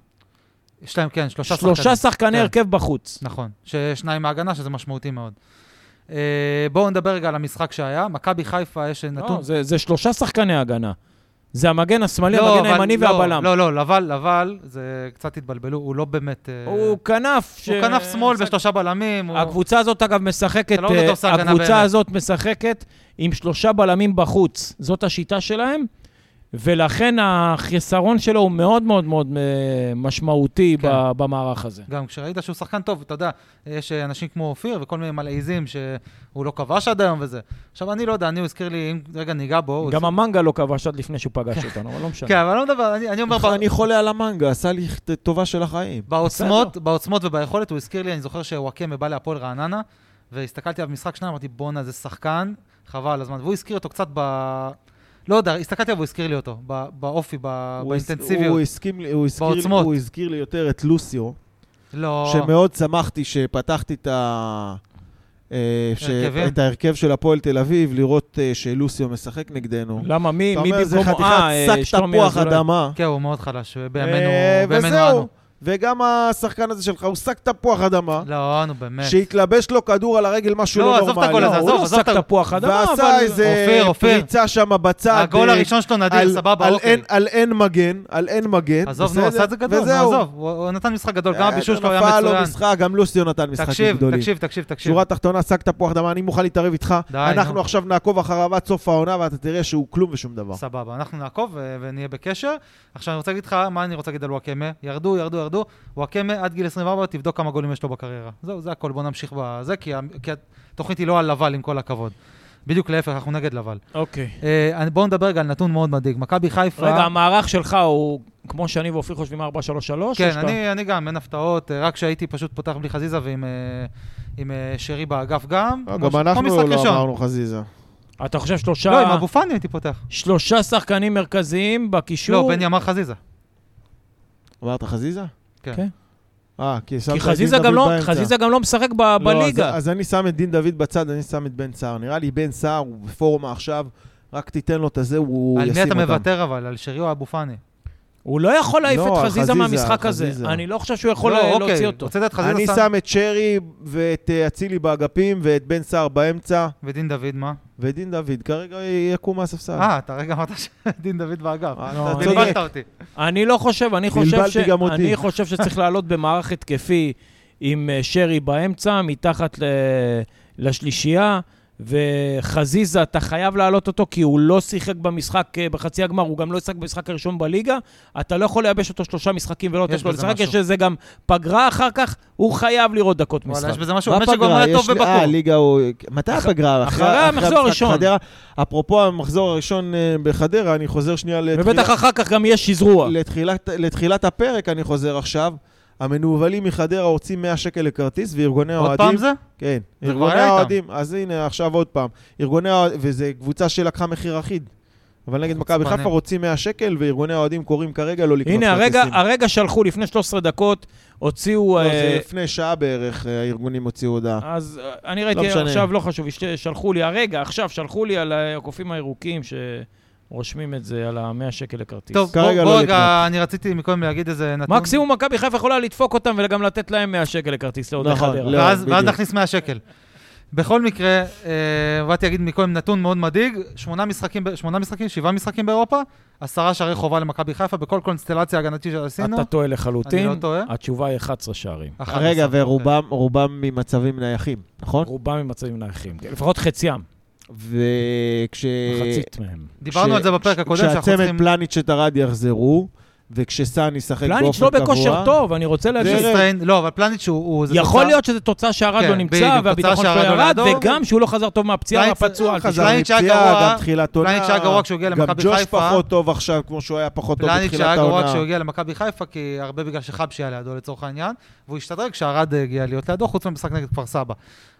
Speaker 2: יש להם, כן, שלושה שחקנים.
Speaker 1: שלושה שחקני
Speaker 2: כן.
Speaker 1: הרכב בחוץ.
Speaker 2: נכון, ששניים מההגנה, שזה משמעותי מאוד. אה, בואו נדבר רגע על המשחק שהיה. מכבי חיפה, יש נתון...
Speaker 1: לא, זה זה שלושה שחקני הגנה. זה המגן השמאלי, המגן
Speaker 2: אבל-
Speaker 1: הימני
Speaker 2: לא,
Speaker 1: והבלם.
Speaker 2: לא, לא, לבל, לבל, זה קצת התבלבלו, הוא לא באמת... אה,
Speaker 1: הוא כנף. ש-
Speaker 2: הוא כנף שמאל
Speaker 1: משחק-
Speaker 2: בשלושה בלמים. הוא-
Speaker 1: הקבוצה הזאת, אגב, משחקת,
Speaker 2: אתה לא באמת
Speaker 1: אה,
Speaker 2: עושה הגנה
Speaker 1: הקבוצה
Speaker 2: באמת.
Speaker 1: הזאת משחקת עם שלושה בלמים בחוץ. זאת השיטה שלהם, ולכן החיסרון שלו הוא מאוד מאוד מאוד אה, משמעותי
Speaker 2: כן.
Speaker 1: ב- במערך הזה.
Speaker 2: גם כשראית שהוא שחקן טוב, אתה יודע, יש אה, אנשים כמו אופיר וכל מיני מלעיזים שהוא לא כבש עד היום וזה. עכשיו, אני לא יודע, אני, הוא הזכיר לי, אם רגע ניגע בו... הוא
Speaker 1: גם
Speaker 2: הזכיר-
Speaker 1: המנגה לא כבש עד לפני שהוא פגש אותנו, אבל לא
Speaker 2: כן,
Speaker 1: משנה.
Speaker 2: אבל לא מדבר, אני, אני אומר,
Speaker 1: נכון,
Speaker 2: ב-
Speaker 3: אני חולה על המנגה, עשה לי טובה של החיים.
Speaker 2: בעוצמות, בעוצמות וביכולת, הוא הזכיר לי, אני זוכר שוואקמה בא להפועל רעננה, והסתכלתי עליו במשחק שניים, אמרתי, בואנה, זה שחקן, חבל על הזמן. והוא הזכיר אותו קצת ב... לא יודע, הסתכלתי עליו והוא הזכיר לי אותו, ב- באופי, ב-
Speaker 3: הוא הס- הוא
Speaker 2: באינטנסיביות.
Speaker 3: הסכים לי- הוא הזכיר לי-
Speaker 2: בעוצמות.
Speaker 3: הוא הזכיר לי יותר את לוסיו,
Speaker 2: לא,
Speaker 3: שמאוד שמחתי שפתחתי את ה... אה, ש-
Speaker 2: הרכבים.
Speaker 3: את ההרכב של הפועל תל אביב, לראות אה, שלוסיו משחק נגדנו.
Speaker 2: לא,
Speaker 1: למה, מי
Speaker 3: אתה
Speaker 1: מי
Speaker 3: אומר, זה
Speaker 1: במקומו?
Speaker 3: חתיכת
Speaker 1: אה, אה,
Speaker 3: שק
Speaker 1: שלומי
Speaker 3: תפוח
Speaker 1: אזולאי.
Speaker 3: אדמה.
Speaker 2: כן, הוא מאוד חלש, בימינו
Speaker 3: אה,
Speaker 2: בימינו אנו.
Speaker 3: וזהו. וגם השחקן הזה שלך הוא שק תפוח אדמה,
Speaker 2: לא, נו, באמת.
Speaker 3: שהתלבש לו כדור על הרגל, משהו
Speaker 2: לא,
Speaker 3: לא
Speaker 2: עזוב את
Speaker 3: נורמלי.
Speaker 2: הגול
Speaker 1: לא,
Speaker 2: הזה,
Speaker 1: הוא
Speaker 2: עזוב,
Speaker 1: לא
Speaker 2: עזוב את
Speaker 1: שק
Speaker 2: ה-
Speaker 1: תפוח אדמה, אבל...
Speaker 3: ועשה איזה
Speaker 2: אופיר, אופיר.
Speaker 3: פריצה שם בצד.
Speaker 2: הגול
Speaker 3: אה,
Speaker 2: הראשון שלו
Speaker 3: על-
Speaker 2: נדיר, סבבה,
Speaker 3: על
Speaker 2: אוקיי.
Speaker 3: אין- על אין מגן, על אין מגן.
Speaker 2: עזוב, נו,
Speaker 3: בסדר?
Speaker 2: עשה את זה גדול, נו,
Speaker 3: וזהו. אה, לא
Speaker 2: עזוב. הוא- הוא נתן משחק גדול, גם הבישול שלו היה
Speaker 3: נפל לו
Speaker 2: מצוין.
Speaker 3: משחק, גם לוסיו נתן משחקים
Speaker 2: תקשיב,
Speaker 3: גדולים.
Speaker 2: תקשיב, תקשיב, תקשיב.
Speaker 3: שורה תחתונה, שק תפוח אדמה, אני מוכן להתערב איתך.
Speaker 2: כן. די,
Speaker 3: אנחנו
Speaker 2: נו.
Speaker 3: עכשיו נעקוב אחריו עד סוף העונה, ואתה תראה שהוא כלום ושום דבר.
Speaker 2: סבבה, אנחנו נעקוב ו- ונהיה בקשר. עכשיו אני רוצה להגיד לך, מה אני רוצה להגיד על וואקמה? ירדו, ירדו, ירדו. וואקמה עד גיל 24, תבדוק כמה גולים יש לו בקריירה. זהו, זה הכל, בוא נמשיך בזה, כי, ה- כי התוכנית היא לא על לבל, עם כל הכבוד. בדיוק להפך, אנחנו נגד לבל.
Speaker 1: אוקיי.
Speaker 2: אה, אני- בואו נדבר רגע על נתון מאוד מדאיג. מכבי חיפה...
Speaker 1: רגע, המערך שלך הוא, כמו שאני ואופיר חושבים, 4-3-3? או
Speaker 2: כן,
Speaker 1: שאתה-
Speaker 2: אני, אני גם, אין הפתעות, אה, רק שהייתי פשוט פותח בלי חזיזה ועם אה, עם, אה, שרי באגף גם. כמו ש-
Speaker 3: גם
Speaker 2: כמו
Speaker 3: אנחנו
Speaker 2: משחק
Speaker 3: לא
Speaker 2: ראשון.
Speaker 3: אמרנו חזיזה.
Speaker 1: אתה חושב שלושה...
Speaker 2: לא, עם אבו פאני הייתי פותח.
Speaker 1: שלושה שחקנים מרכזיים בקישור.
Speaker 2: לא, בני אמר חזיזה.
Speaker 3: אמרת חזיזה?
Speaker 1: כן.
Speaker 2: כן.
Speaker 3: אה, כי שמת
Speaker 1: כי
Speaker 3: את
Speaker 1: חזיזה
Speaker 3: דין
Speaker 1: גם
Speaker 3: דוד
Speaker 1: לא-
Speaker 3: באמצע.
Speaker 1: חזיזה גם לא משחק ב-
Speaker 3: לא, אז-
Speaker 1: בליגה.
Speaker 3: אז אני שם את דין דוד בצד, אני שם את בן סער. נראה לי בן סער הוא בפורמה עכשיו, רק תיתן לו את הזה, הוא
Speaker 2: על
Speaker 3: ישים
Speaker 2: מי
Speaker 3: אותם.
Speaker 2: אתה מוותר אבל? על שרי או אבו פאני?
Speaker 1: הוא לא יכול להעיף
Speaker 3: לא,
Speaker 1: את חזיזה
Speaker 3: חזיזה,
Speaker 1: מהמשחק הזה.
Speaker 3: חזיזה.
Speaker 1: אני לא חושב שהוא יכול
Speaker 2: לא,
Speaker 1: לה-
Speaker 2: אוקיי,
Speaker 1: להוציא אותו.
Speaker 2: הוצאת את חזיזה
Speaker 3: אני
Speaker 2: סאן-
Speaker 3: שם את שרי ואת אה, אצילי באגפים ואת בן סער באמצע,
Speaker 2: ודין דוד, מה?
Speaker 3: ודין דוד כרגע יקום מהספסל.
Speaker 2: אה, אתה הרגע אמרת [LAUGHS] שדין דוד באגף.
Speaker 3: אה,
Speaker 1: לא,
Speaker 3: אתה צודק.
Speaker 2: בלבלת אותי.
Speaker 1: אני לא חושב, אני חושב,
Speaker 3: בלבלתי
Speaker 1: ש...
Speaker 3: גם אותי.
Speaker 1: אני חושב שצריך לעלות במערך התקפי עם אה, שרי באמצע, מתחת ל... לשלישייה, וחזיזה, אתה חייב להעלות אותו כי הוא לא שיחק במשחק אה, בחצי הגמר, הוא גם לא ישחק במשחק הראשון בליגה. אתה לא יכול לייבש אותו שלושה משחקים ולא לתת
Speaker 2: יש
Speaker 1: לו
Speaker 2: בזה
Speaker 1: לשחק,
Speaker 2: משהו.
Speaker 1: יש לזה גם פגרה אחר כך, הוא חייב לראות דקות
Speaker 2: וואלה,
Speaker 1: משחק.
Speaker 2: יש בזה משהו,
Speaker 3: מה
Speaker 2: האמת שגם
Speaker 3: פגרה?
Speaker 2: היה טוב
Speaker 3: יש לי- אה,
Speaker 2: בבקור.
Speaker 3: ליגה הוא... מתי הפגרה?
Speaker 1: אחרי המחזור
Speaker 3: המשחק
Speaker 1: הראשון.
Speaker 3: חדרה. אפרופו המחזור הראשון אה, בחדרה, אני חוזר שנייה לתחילת-
Speaker 1: ובטח אחר כך גם יש שזרוע.
Speaker 3: לא, לתחילת- לתחילת הפרק, אני חוזר עכשיו. המנוולים מחדרה הוציא 100 שקל לכרטיס, וארגוני האוהדים...
Speaker 2: עוד פעם זה?
Speaker 3: כן.
Speaker 2: זה כבר
Speaker 3: ארגוני
Speaker 2: היה איתם.
Speaker 3: האוהדים, אז הנה, עכשיו עוד פעם. ארגוני האוהדים, וזו קבוצה שלקחה מחיר אחיד. אבל נגד מכבי
Speaker 2: חוצפנים.
Speaker 3: חיפה רוצים 100 שקל, וארגוני האוהדים קוראים כרגע לא לקנות
Speaker 1: הנה,
Speaker 3: כרטיסים.
Speaker 1: הרגע, הרגע שלחו לפני 13 דקות, הוציאו...
Speaker 3: לא,
Speaker 1: אה,
Speaker 3: זה לפני שעה בערך אה, הארגונים הוציאו הודעה.
Speaker 1: אז אה, אני ראיתי,
Speaker 3: משנה.
Speaker 1: עכשיו לא חשוב, יש- שלחו לי הרגע, עכשיו שלחו לי על אה, הקופים הירוקים שרושמים את זה, על ה-100 שקל לכרטיס.
Speaker 2: טוב,
Speaker 3: כרגע
Speaker 2: בוא- בוא
Speaker 3: לא
Speaker 2: רגע, אני רציתי מקודם להגיד איזה נתון.
Speaker 1: מקסימום מכבי חיפה יכולה לדפוק אותם וגם לתת להם 100 שקל לכרטיס לעוד
Speaker 3: נכון,
Speaker 1: חדרה.
Speaker 3: לא.
Speaker 2: ואז
Speaker 3: בדיוק.
Speaker 2: ואז נכניס 100 שקל. בכל מקרה, אה, באתי להגיד מקודם נתון מאוד מדאיג, שמונה משחקים, ב- שמונה משחקים, שבעה משחקים באירופה, עשרה שערי חובה למכבי חיפה בכל קונסטלציה הגנתית שעשינו.
Speaker 1: אתה טועה
Speaker 2: אני
Speaker 1: לחלוטין,
Speaker 2: לא טועה.
Speaker 1: התשובה היא 11 שערים.
Speaker 2: 11.
Speaker 3: רגע, ורובם רובם ממצבים נייחים, נכון?
Speaker 1: רובם ממצבים נייחים, כן, לפחות חציים,
Speaker 3: וכש...
Speaker 1: מחצית מהם.
Speaker 2: דיברנו על זה בפרק הקודם, שאנחנו צריכים...
Speaker 3: כשהצמד פלניץ' שטרד יחזרו, וכשסאן ישחק באופן קבוע...
Speaker 1: פלניץ' לא בכושר טוב, אני רוצה להגיד.
Speaker 3: זה-
Speaker 2: שסטריין- לא, אבל פלניץ' הוא... הוא- זה
Speaker 1: יכול
Speaker 2: תוצאה-
Speaker 1: להיות שזו תוצאה שהרד
Speaker 2: כן,
Speaker 1: לא נמצא,
Speaker 2: בדיוק,
Speaker 1: והביטחון
Speaker 2: תוצאה
Speaker 1: שלו
Speaker 2: שהרד
Speaker 1: ירד,
Speaker 2: לא לידו.
Speaker 1: וגם שהוא לא חזר טוב מהפציעה,
Speaker 2: פלניץ'-
Speaker 1: והפצוע על
Speaker 3: חזר
Speaker 1: כיסא.
Speaker 2: פלניץ' היה
Speaker 3: מפציעה,
Speaker 2: גרוע,
Speaker 3: גם תחילת עונה.
Speaker 2: פלניץ' היה גרוע כשהוא הגיע למכבי
Speaker 3: גם ג'וש
Speaker 2: חיפה.
Speaker 3: פחות טוב עכשיו, כמו שהוא היה פחות טוב
Speaker 2: פלניץ'
Speaker 3: בתחילת
Speaker 2: שהיה גרוע
Speaker 3: העונה.
Speaker 2: כשהוא הגיע למכבי חיפה, כי הרבה בגלל שחבשי היה לידו לצורך העניין, והוא השתדרג כשערד הגיע להיות לידו, חוץ מהמשחק נגד כפר סבא.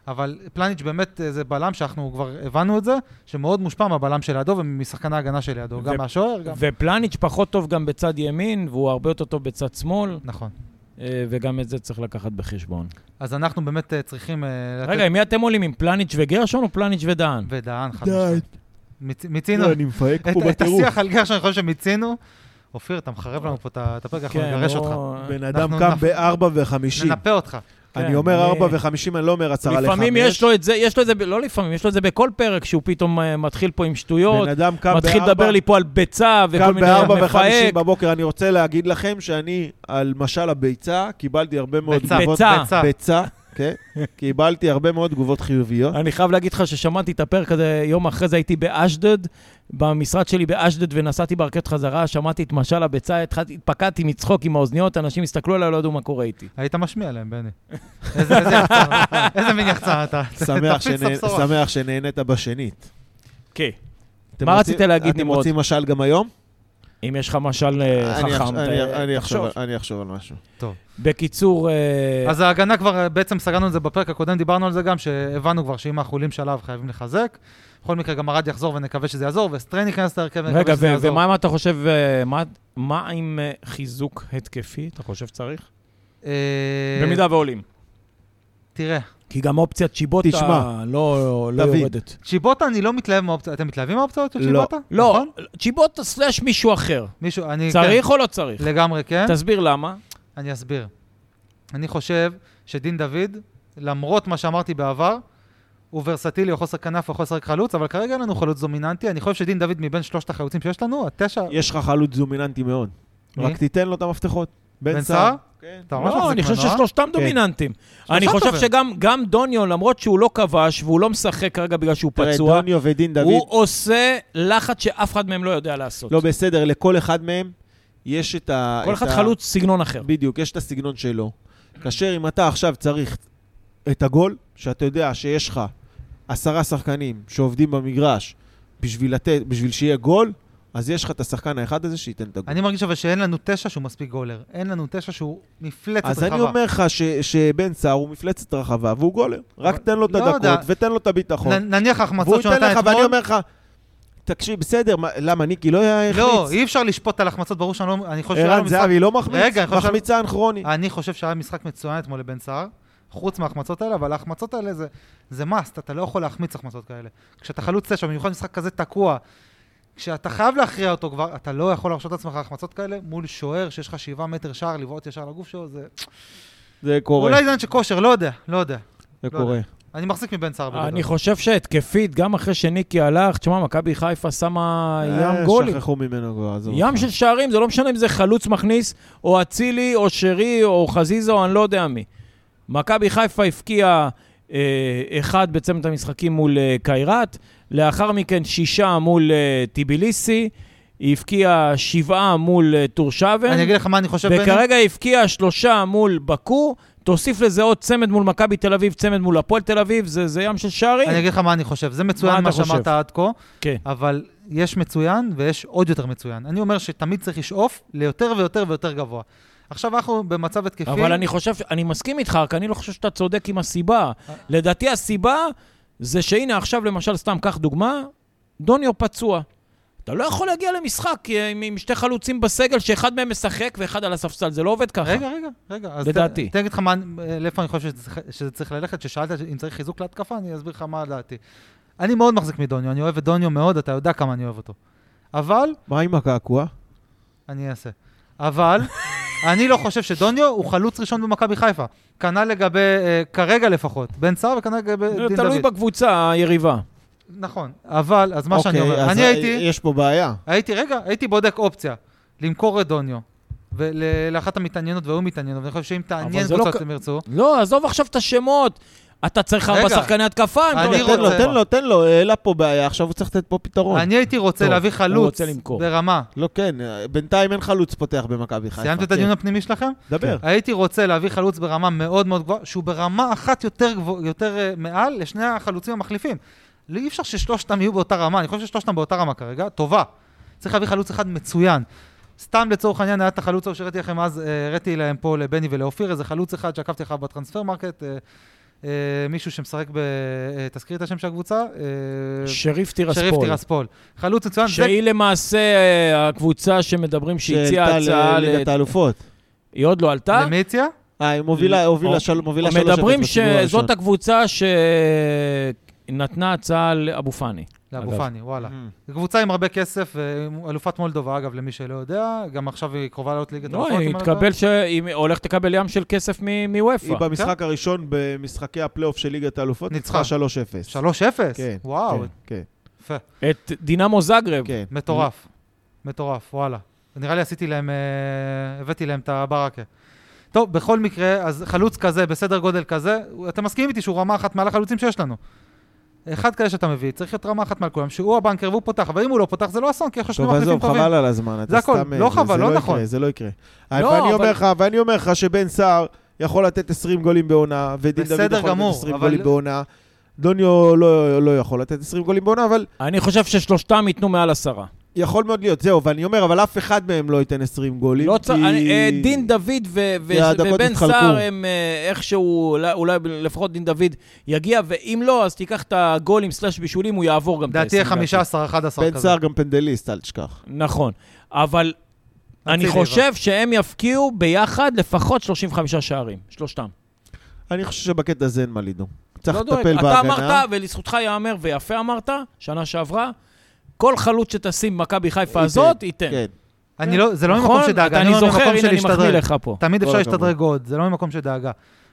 Speaker 2: אבל פלניץ' באמת אה, זה בלם שאנחנו כבר הבנו את זה, שמאוד מושפע מהבלם שלידו ומשחקן ההגנה שלידו, גם
Speaker 1: ו-
Speaker 2: מהשוער, גם...
Speaker 1: ופלניץ' פחות טוב גם בצד ימין, והוא הרבה יותר טוב בצד שמאל,
Speaker 2: נכון.
Speaker 1: אה, וגם את זה צריך לקחת בחשבון.
Speaker 2: אז אנחנו באמת אה, צריכים... אה, לתת-
Speaker 1: רגע, עם מי אתם עולים? עם פלניץ' וגרשון או פלניץ' ודהן?
Speaker 2: ודהן, חד
Speaker 3: די.
Speaker 2: משמעית. מיצ- מיצינו
Speaker 3: לא, אני מפהק
Speaker 2: את-
Speaker 3: פה
Speaker 2: את
Speaker 3: בטירוף.
Speaker 2: השיח על גרשון, אני חושב שמיצינו. אופיר, אתה מחרב לנו פה את ה- את הפרק, אנחנו
Speaker 1: כן,
Speaker 3: כן,
Speaker 2: נגרש נכון, אותך.
Speaker 1: או-
Speaker 3: בן אדם
Speaker 2: אנחנו
Speaker 3: קם
Speaker 2: נפ-
Speaker 3: ב-4 ו-50.
Speaker 2: ננפה אותך.
Speaker 3: אני
Speaker 1: כן,
Speaker 3: אומר
Speaker 1: אני-
Speaker 3: 4 ו-50, אני לא אומר הצהרה ל-5.
Speaker 1: לפעמים יש לו את זה, יש לו את זה, ב- לא לפעמים, יש לו את זה בכל פרק, שהוא פתאום אה, מתחיל פה עם שטויות,
Speaker 3: בן אדם קם
Speaker 1: מתחיל
Speaker 3: בארבע-
Speaker 1: לדבר לי פה על ביצה וכל
Speaker 3: קם
Speaker 1: מיני
Speaker 3: ב-4 ו-50
Speaker 1: מפהק.
Speaker 3: בבוקר, אני רוצה להגיד לכם שאני, על משל הביצה, קיבלתי הרבה מאוד
Speaker 2: ביצה,
Speaker 3: תגובות...
Speaker 1: ביצה.
Speaker 2: ביצה.
Speaker 3: ביצה, כן. קיבלתי הרבה מאוד תגובות חיוביות.
Speaker 1: אני חייב להגיד לך ששמעתי את הפרק הזה, יום אחרי זה הייתי באשדוד, במשרד שלי באשדוד, ונסעתי ברכבת חזרה, שמעתי את משל הביצה, התחלתי- התפקעתי מצחוק עם האוזניות, אנשים הסתכלו עליי, לא ידעו מה קורה איתי.
Speaker 2: היית משמיע להם,
Speaker 3: [LAUGHS]
Speaker 2: בני. איזה איזה יחצן, איזה מין יחצן אתה.
Speaker 3: שמח
Speaker 2: תפיץ את
Speaker 3: שנה-
Speaker 2: הבשורה.
Speaker 3: שמח שנהנית בשנית.
Speaker 1: כן.
Speaker 3: אתם
Speaker 1: מה
Speaker 3: רוצים-
Speaker 1: רצית להגיד,
Speaker 3: אתם
Speaker 1: נמרוד?
Speaker 3: רוצים משל גם היום?
Speaker 1: אם יש לך משל אה,
Speaker 3: אני אחש-
Speaker 1: חכם,
Speaker 3: אני-
Speaker 1: ת-
Speaker 3: אני
Speaker 1: תחשוב.
Speaker 3: אחשוב- אני אחשוב על משהו.
Speaker 1: בקיצור, אה,
Speaker 2: אז ההגנה כבר, אה, בעצם סגרנו את זה בפרק הקודם, דיברנו על זה גם, שהבנו כבר שאם אנחנו עולים שלב חייבים לחזק. בכל מקרה, גם ארד יחזור ונקווה שזה יעזור, וסטריין ייכנס להרכב
Speaker 1: רגע,
Speaker 2: ונקווה שזה
Speaker 1: ו-
Speaker 2: יעזור.
Speaker 1: ומה אם אתה חושב, אה, מה- מה עם אה, חיזוק התקפי, אתה חושב שצריך?
Speaker 2: אה,
Speaker 1: במידה ועולים.
Speaker 2: תראה,
Speaker 1: כי גם אופציית שיבוטה
Speaker 3: תשמע,
Speaker 1: לא לא
Speaker 3: דוד.
Speaker 1: יורדת.
Speaker 2: צ'יבוטה, אני לא מתלהב מהאופציות. אתם מתלהבים מהאופציות של
Speaker 3: לא.
Speaker 2: צ'יבוטה?
Speaker 1: לא,
Speaker 2: נכון?
Speaker 1: צ'יבוטה סלאש מישהו אחר.
Speaker 2: מישהו, אני...
Speaker 1: צריך או לא צריך?
Speaker 2: כן, לגמרי כן.
Speaker 1: תסביר למה.
Speaker 2: אני אסביר. אני חושב שדין דוד, למרות מה שאמרתי בעבר, הוא ורסטילי, הוא יכול לשחק כנף, הוא יכול לשחק חלוץ, אבל כרגע אין לנו חלוץ דומיננטי. אני חושב שדין דוד מבין שלושת החלוצים שיש לנו, התשע...
Speaker 3: יש לך חלוץ דומיננטי מאוד.
Speaker 1: מי?
Speaker 3: רק תיתן לו את המפתחות.
Speaker 2: בן סער?
Speaker 3: כן.
Speaker 2: אתה ממש
Speaker 1: לא,
Speaker 2: מחזיק
Speaker 1: אני חושב
Speaker 2: ממנו, אה?
Speaker 1: ששלושתם דומיננטיים. אני
Speaker 2: שלושתם
Speaker 1: חושב
Speaker 2: טובים.
Speaker 1: שגם גם דוניו, למרות שהוא לא כבש והוא לא משחק כרגע בגלל שהוא
Speaker 3: תראה,
Speaker 1: פצוע,
Speaker 3: דוניו ודין
Speaker 1: הוא
Speaker 3: דוד,
Speaker 1: עושה לחץ שאף אחד מהם לא יודע לעשות.
Speaker 3: לא בסדר, לכל אחד מהם יש את ה...
Speaker 1: כל
Speaker 3: את
Speaker 1: אחד
Speaker 3: ה-
Speaker 1: חלוץ סגנון אחר.
Speaker 3: בדיוק, יש את הסגנון שלו. כאשר אם אתה עכשיו צריך את הגול, שאתה יודע שיש לך עשרה שחקנים שעובדים במגרש בשביל, לתת, בשביל שיהיה גול, אז יש לך את השחקן האחד הזה שייתן את הגול.
Speaker 2: אני מרגיש אבל שאין לנו תשע שהוא מספיק גולר. אין לנו תשע שהוא מפלצת
Speaker 3: אז
Speaker 2: רחבה.
Speaker 3: אני אומר לך ש, שבן סער הוא מפלצת רחבה והוא גולר. רק
Speaker 2: אבל-
Speaker 3: תן לו את
Speaker 2: לא
Speaker 3: הדקות
Speaker 2: יודע.
Speaker 3: ותן לו את הביטחון.
Speaker 2: נ- נניח
Speaker 3: והוא
Speaker 2: החמצות שהוא
Speaker 3: ייתן
Speaker 2: נתן
Speaker 3: לך, ואני
Speaker 2: אתמול...
Speaker 3: אומר לך, תקשיב, בסדר, מה- למה, ניקי לא היה
Speaker 2: לא,
Speaker 3: החמיץ?
Speaker 2: אי אפשר לשפוט על החמצות, ברור שאני לא... אני חושב שהיה לו
Speaker 3: ערן
Speaker 2: משחק-
Speaker 3: זהבי לא מחמיץ?
Speaker 2: רגע, אה, אני חושב שהיה-
Speaker 3: מחמיצן כרוני.
Speaker 2: אני חושב שהיה משחק מצוין אתמול לבן סער, חוץ מההחמצות האלה, אבל ההחמצות האלה זה, זה must, אתה לא יכול להחמיץ החמצות כאלה. כשאתה חלוץ תשע, במיוחד משחק כזה תקוע, כשאתה חייב להכריע אותו כבר, אתה לא יכול להרשות לעצמך החמצות כאלה מול שוער שיש לך שבעה מטר שער לבעוט ישר לגוף שלו, זה
Speaker 3: זה קורה,
Speaker 2: אולי עניין של כושר, לא יודע, לא יודע.
Speaker 3: זה
Speaker 2: לא
Speaker 3: קורה.
Speaker 2: אני מחזיק מבן סער בגדול.
Speaker 1: אני חושב שהתקפית, גם אחרי שניקי הלך, תשמע, מכבי חיפה שמה ים
Speaker 3: אה,
Speaker 1: גולים.
Speaker 3: שכחו ממנו כבר, עזוב.
Speaker 1: ים
Speaker 3: אותך.
Speaker 1: של שערים, זה לא משנה אם זה חלוץ מכניס, או אצילי, או שרי, או חזיזה, או אני לא יודע מי. מכבי חיפה הבקיעה אה, אחד בצמד המשחקים מול אה, קיירת, לאחר מכן שישה מול אה, טיביליסי, היא הבקיעה שבעה מול אה, טורשבן.
Speaker 2: אני אגיד לך מה אני חושב, בני.
Speaker 1: וכרגע הבקיע שלושה מול בקו, תוסיף לזה עוד צמד מול מכבי תל אביב, צמד מול הפועל תל אביב, זה, זה ים של שערים.
Speaker 2: אני אגיד לך מה אני חושב, זה
Speaker 1: מה
Speaker 2: מצוין
Speaker 1: אתה
Speaker 2: מה
Speaker 1: חושב?
Speaker 2: שאמרת עד כה,
Speaker 1: כן.
Speaker 2: אבל יש מצוין ויש עוד יותר מצוין. אני אומר שתמיד צריך לשאוף ליותר ויותר ויותר גבוה. עכשיו אנחנו במצב התקפי,
Speaker 1: אבל אני חושב, ש- אני מסכים איתך, רק אני לא חושב שאתה צודק עם הסיבה. לדעתי הסיבה זה שהנה עכשיו, למשל, סתם קח דוגמה, דוניו פצוע. אתה לא יכול להגיע למשחק אה, עם, עם שתי חלוצים בסגל, שאחד מהם משחק ואחד על הספסל, זה לא עובד ככה.
Speaker 2: רגע, רגע, רגע. אז
Speaker 1: לדעתי.
Speaker 2: ת- תן לי לך מה- לאיפה אני חושב שזה צריך- שזה צריך ללכת, ששאלת אם צריך חיזוק להתקפה, אני אסביר לך מה דעתי. אני מאוד מחזיק מדוניו, אני אוהב את דוניו מאוד, אתה יודע כמה אני אוהב אותו. אבל,
Speaker 3: מה עם הקעקוע?
Speaker 2: אני אעשה. אבל, [LAUGHS] אני לא חושב שדוניו הוא חלוץ ראשון במכבי חיפה. כנ"ל לגבי, אה, כרגע לפחות, בן סער וכנ"ל לגבי
Speaker 1: זה
Speaker 2: דין
Speaker 1: תלוי
Speaker 2: דוד.
Speaker 1: בקבוצה היריבה.
Speaker 2: נכון, אבל, אז מה שאני
Speaker 3: אוקיי,
Speaker 2: אומר,
Speaker 3: אז
Speaker 2: אני
Speaker 3: ה-
Speaker 1: אה,
Speaker 2: הייתי,
Speaker 3: יש פה בעיה.
Speaker 2: הייתי, רגע, הייתי בודק אופציה, למכור את דוניו. ולאחת המתעניינות והוא מתעניין, ואני חושב שאם תעניין
Speaker 1: זה לא
Speaker 2: קבוצות
Speaker 1: ק-
Speaker 2: הם ירצו,
Speaker 1: לא, עזוב עכשיו את השמות. אתה צריך ארבע
Speaker 2: רגע.
Speaker 1: שחקני התקפה. אם אתה
Speaker 2: אני
Speaker 1: נותן
Speaker 3: תן לו,
Speaker 1: לו.
Speaker 2: רוצה-
Speaker 3: תן לו, תן לו, העלה פה בעיה, עכשיו הוא צריך לתת פה פתרון.
Speaker 2: אני הייתי רוצה
Speaker 1: טוב,
Speaker 2: להביא
Speaker 1: הוא
Speaker 2: חלוץ
Speaker 1: רוצה למכור.
Speaker 2: ברמה.
Speaker 3: לא, כן, אה, בינתיים אין חלוץ פותח במכבי חיפה.
Speaker 2: סיימת את
Speaker 3: כן.
Speaker 2: הדיון הפנימי שלכם?
Speaker 3: דבר.
Speaker 2: הייתי רוצה להביא חלוץ ברמה מאוד מאוד גבוהה, שהוא ברמה אחת יותר גבוה- יותר אה, מעל לשני החלוצים המחליפים. לא אי אפשר ששלושתם יהיו באותה רמה, אני חושב ששלושתם באותה רמה כרגע, טובה. צריך להביא חלוץ אחד מצוין. סתם לצורך העניין היה את החלוץ ההוא שהראיתי לכם אז, אה, הראיתי להם פה לבני ולאופיר, איזה חלוץ אחד שעקבתי אחריו בטרנספר מרקט, אה, אה, מישהו שמשחק ב... אה, תזכירי את השם של הקבוצה? אה,
Speaker 1: שריף
Speaker 2: שריף
Speaker 1: טירספול.
Speaker 2: טירספול. חלוץ מצוין, זה
Speaker 1: שהיא למעשה אה, הקבוצה שמדברים שהציעה הצעה, ל-
Speaker 3: לליגת אה, האלופות.
Speaker 1: היא עוד לא עלתה.
Speaker 2: למי הציע?
Speaker 3: אה, היא מובילה, הובילה
Speaker 1: או-
Speaker 3: של- מובילה שלוש...
Speaker 1: מדברים
Speaker 3: אפס בסיבוב הראשון.
Speaker 1: שזאת הקבוצה שנתנה הצעה לאבו פאני.
Speaker 2: לאבו
Speaker 1: אגב.
Speaker 2: פאני, וואלה.
Speaker 3: Mhm.
Speaker 2: זו קבוצה עם הרבה כסף, אה, אלופת מולדובה, אגב, למי שלא יודע, גם עכשיו היא קרובה לעלות ליגת
Speaker 1: לא,
Speaker 3: נכון,
Speaker 2: אלופות,
Speaker 1: היא
Speaker 2: אם אני לא
Speaker 1: תקבל, ש- היא הולכת לקבל ים של כסף מ- מוופא.
Speaker 3: היא במשחק הראשון במשחקי הפלייאוף של ליגת האלופות,
Speaker 2: ניצחה.
Speaker 3: ניצחה 3-0.
Speaker 2: טועה. 3-0?
Speaker 3: כן.
Speaker 2: וואו,
Speaker 3: כן, כן,
Speaker 2: יפה.
Speaker 1: את דינמו זגרב.
Speaker 3: כן.
Speaker 2: מטורף. מטורף, וואלה. נראה לי עשיתי להם, אה, הבאתי להם את הברקה. טוב, בכל מקרה, אז חלוץ כזה, בסדר גודל כזה, הוא- אתם מסכימים איתי שהוא רמה אחת מעל החלוצים שיש לנו. אחד כזה שאתה מביא, צריך להיות רמה אחת מעל כולם, שהוא הבנקר והוא פותח, אבל אם הוא לא פותח זה לא אסון, כי יש לך שני
Speaker 3: טוב,
Speaker 2: מחליפים
Speaker 3: עזוב,
Speaker 2: טובים.
Speaker 3: חבל על הזמן. אתה
Speaker 2: זה הכל.
Speaker 3: סתם,
Speaker 2: לא
Speaker 3: אה, זה-
Speaker 2: חבל,
Speaker 3: זה
Speaker 2: לא
Speaker 3: יקרה,
Speaker 2: נכון.
Speaker 3: זה לא יקרה.
Speaker 1: לא,
Speaker 3: ואני אומר
Speaker 1: אבל-
Speaker 3: לך, ואני אומר לך שבן סער יכול לתת 20 גולים בעונה, ודין דוד
Speaker 2: בסדר
Speaker 3: יכול לתת
Speaker 2: גמור,
Speaker 3: 20
Speaker 2: אבל-
Speaker 3: גולים בעונה. דוניו לא- לא יכול לתת 20 גולים בעונה, אבל
Speaker 1: אני חושב ששלושתם ייתנו מעל עשרה.
Speaker 3: יכול מאוד להיות, זהו, ואני אומר, אבל אף אחד מהם לא ייתן 20 גולים,
Speaker 1: לא צריך,
Speaker 3: כי-
Speaker 1: אני- אה, דין דוד ו-
Speaker 3: כי
Speaker 1: ו-
Speaker 3: הדקות
Speaker 1: ובן
Speaker 3: התחלקו.
Speaker 1: סער הם אה, איכשהו, אולי- אולי לפחות דין דוד יגיע, ואם לא, אז תיקח את הגולים סלאש בישולים, הוא יעבור גם את
Speaker 2: לדעתי
Speaker 1: ה-20 דקות.
Speaker 2: 15, 11
Speaker 3: בן
Speaker 2: כזה.
Speaker 3: סער גם פנדליסט, אל תשכח.
Speaker 1: נכון, אבל אני
Speaker 2: אצילי,
Speaker 1: חושב שהם יפקיעו ביחד לפחות 35 שערים, שלושתם.
Speaker 3: אני חושב שבקטע הזה אין מה לדאוג. צריך
Speaker 1: לא דואג.
Speaker 3: לטפל
Speaker 1: אתה
Speaker 3: בהגנה.
Speaker 1: אמרת, ולזכותך ייאמר, ויפה אמרת, שנה שעברה, כל חלוץ שתשים במכבי חיפה
Speaker 3: ייתן,
Speaker 1: הזאת, ייתן.
Speaker 3: כן.
Speaker 2: אני לא, זה לא
Speaker 1: נכון?
Speaker 2: ממקום של דאגה,
Speaker 1: אני
Speaker 2: אני אומר
Speaker 1: זוכר,
Speaker 2: ממקום
Speaker 1: הנה,
Speaker 2: של
Speaker 1: אני מחמיא
Speaker 2: להשתדרג.
Speaker 1: לך פה.
Speaker 2: תמיד
Speaker 3: כל
Speaker 2: אפשר
Speaker 3: הכבוד.
Speaker 2: להשתדרג עוד, זה לא ממקום של דאגה.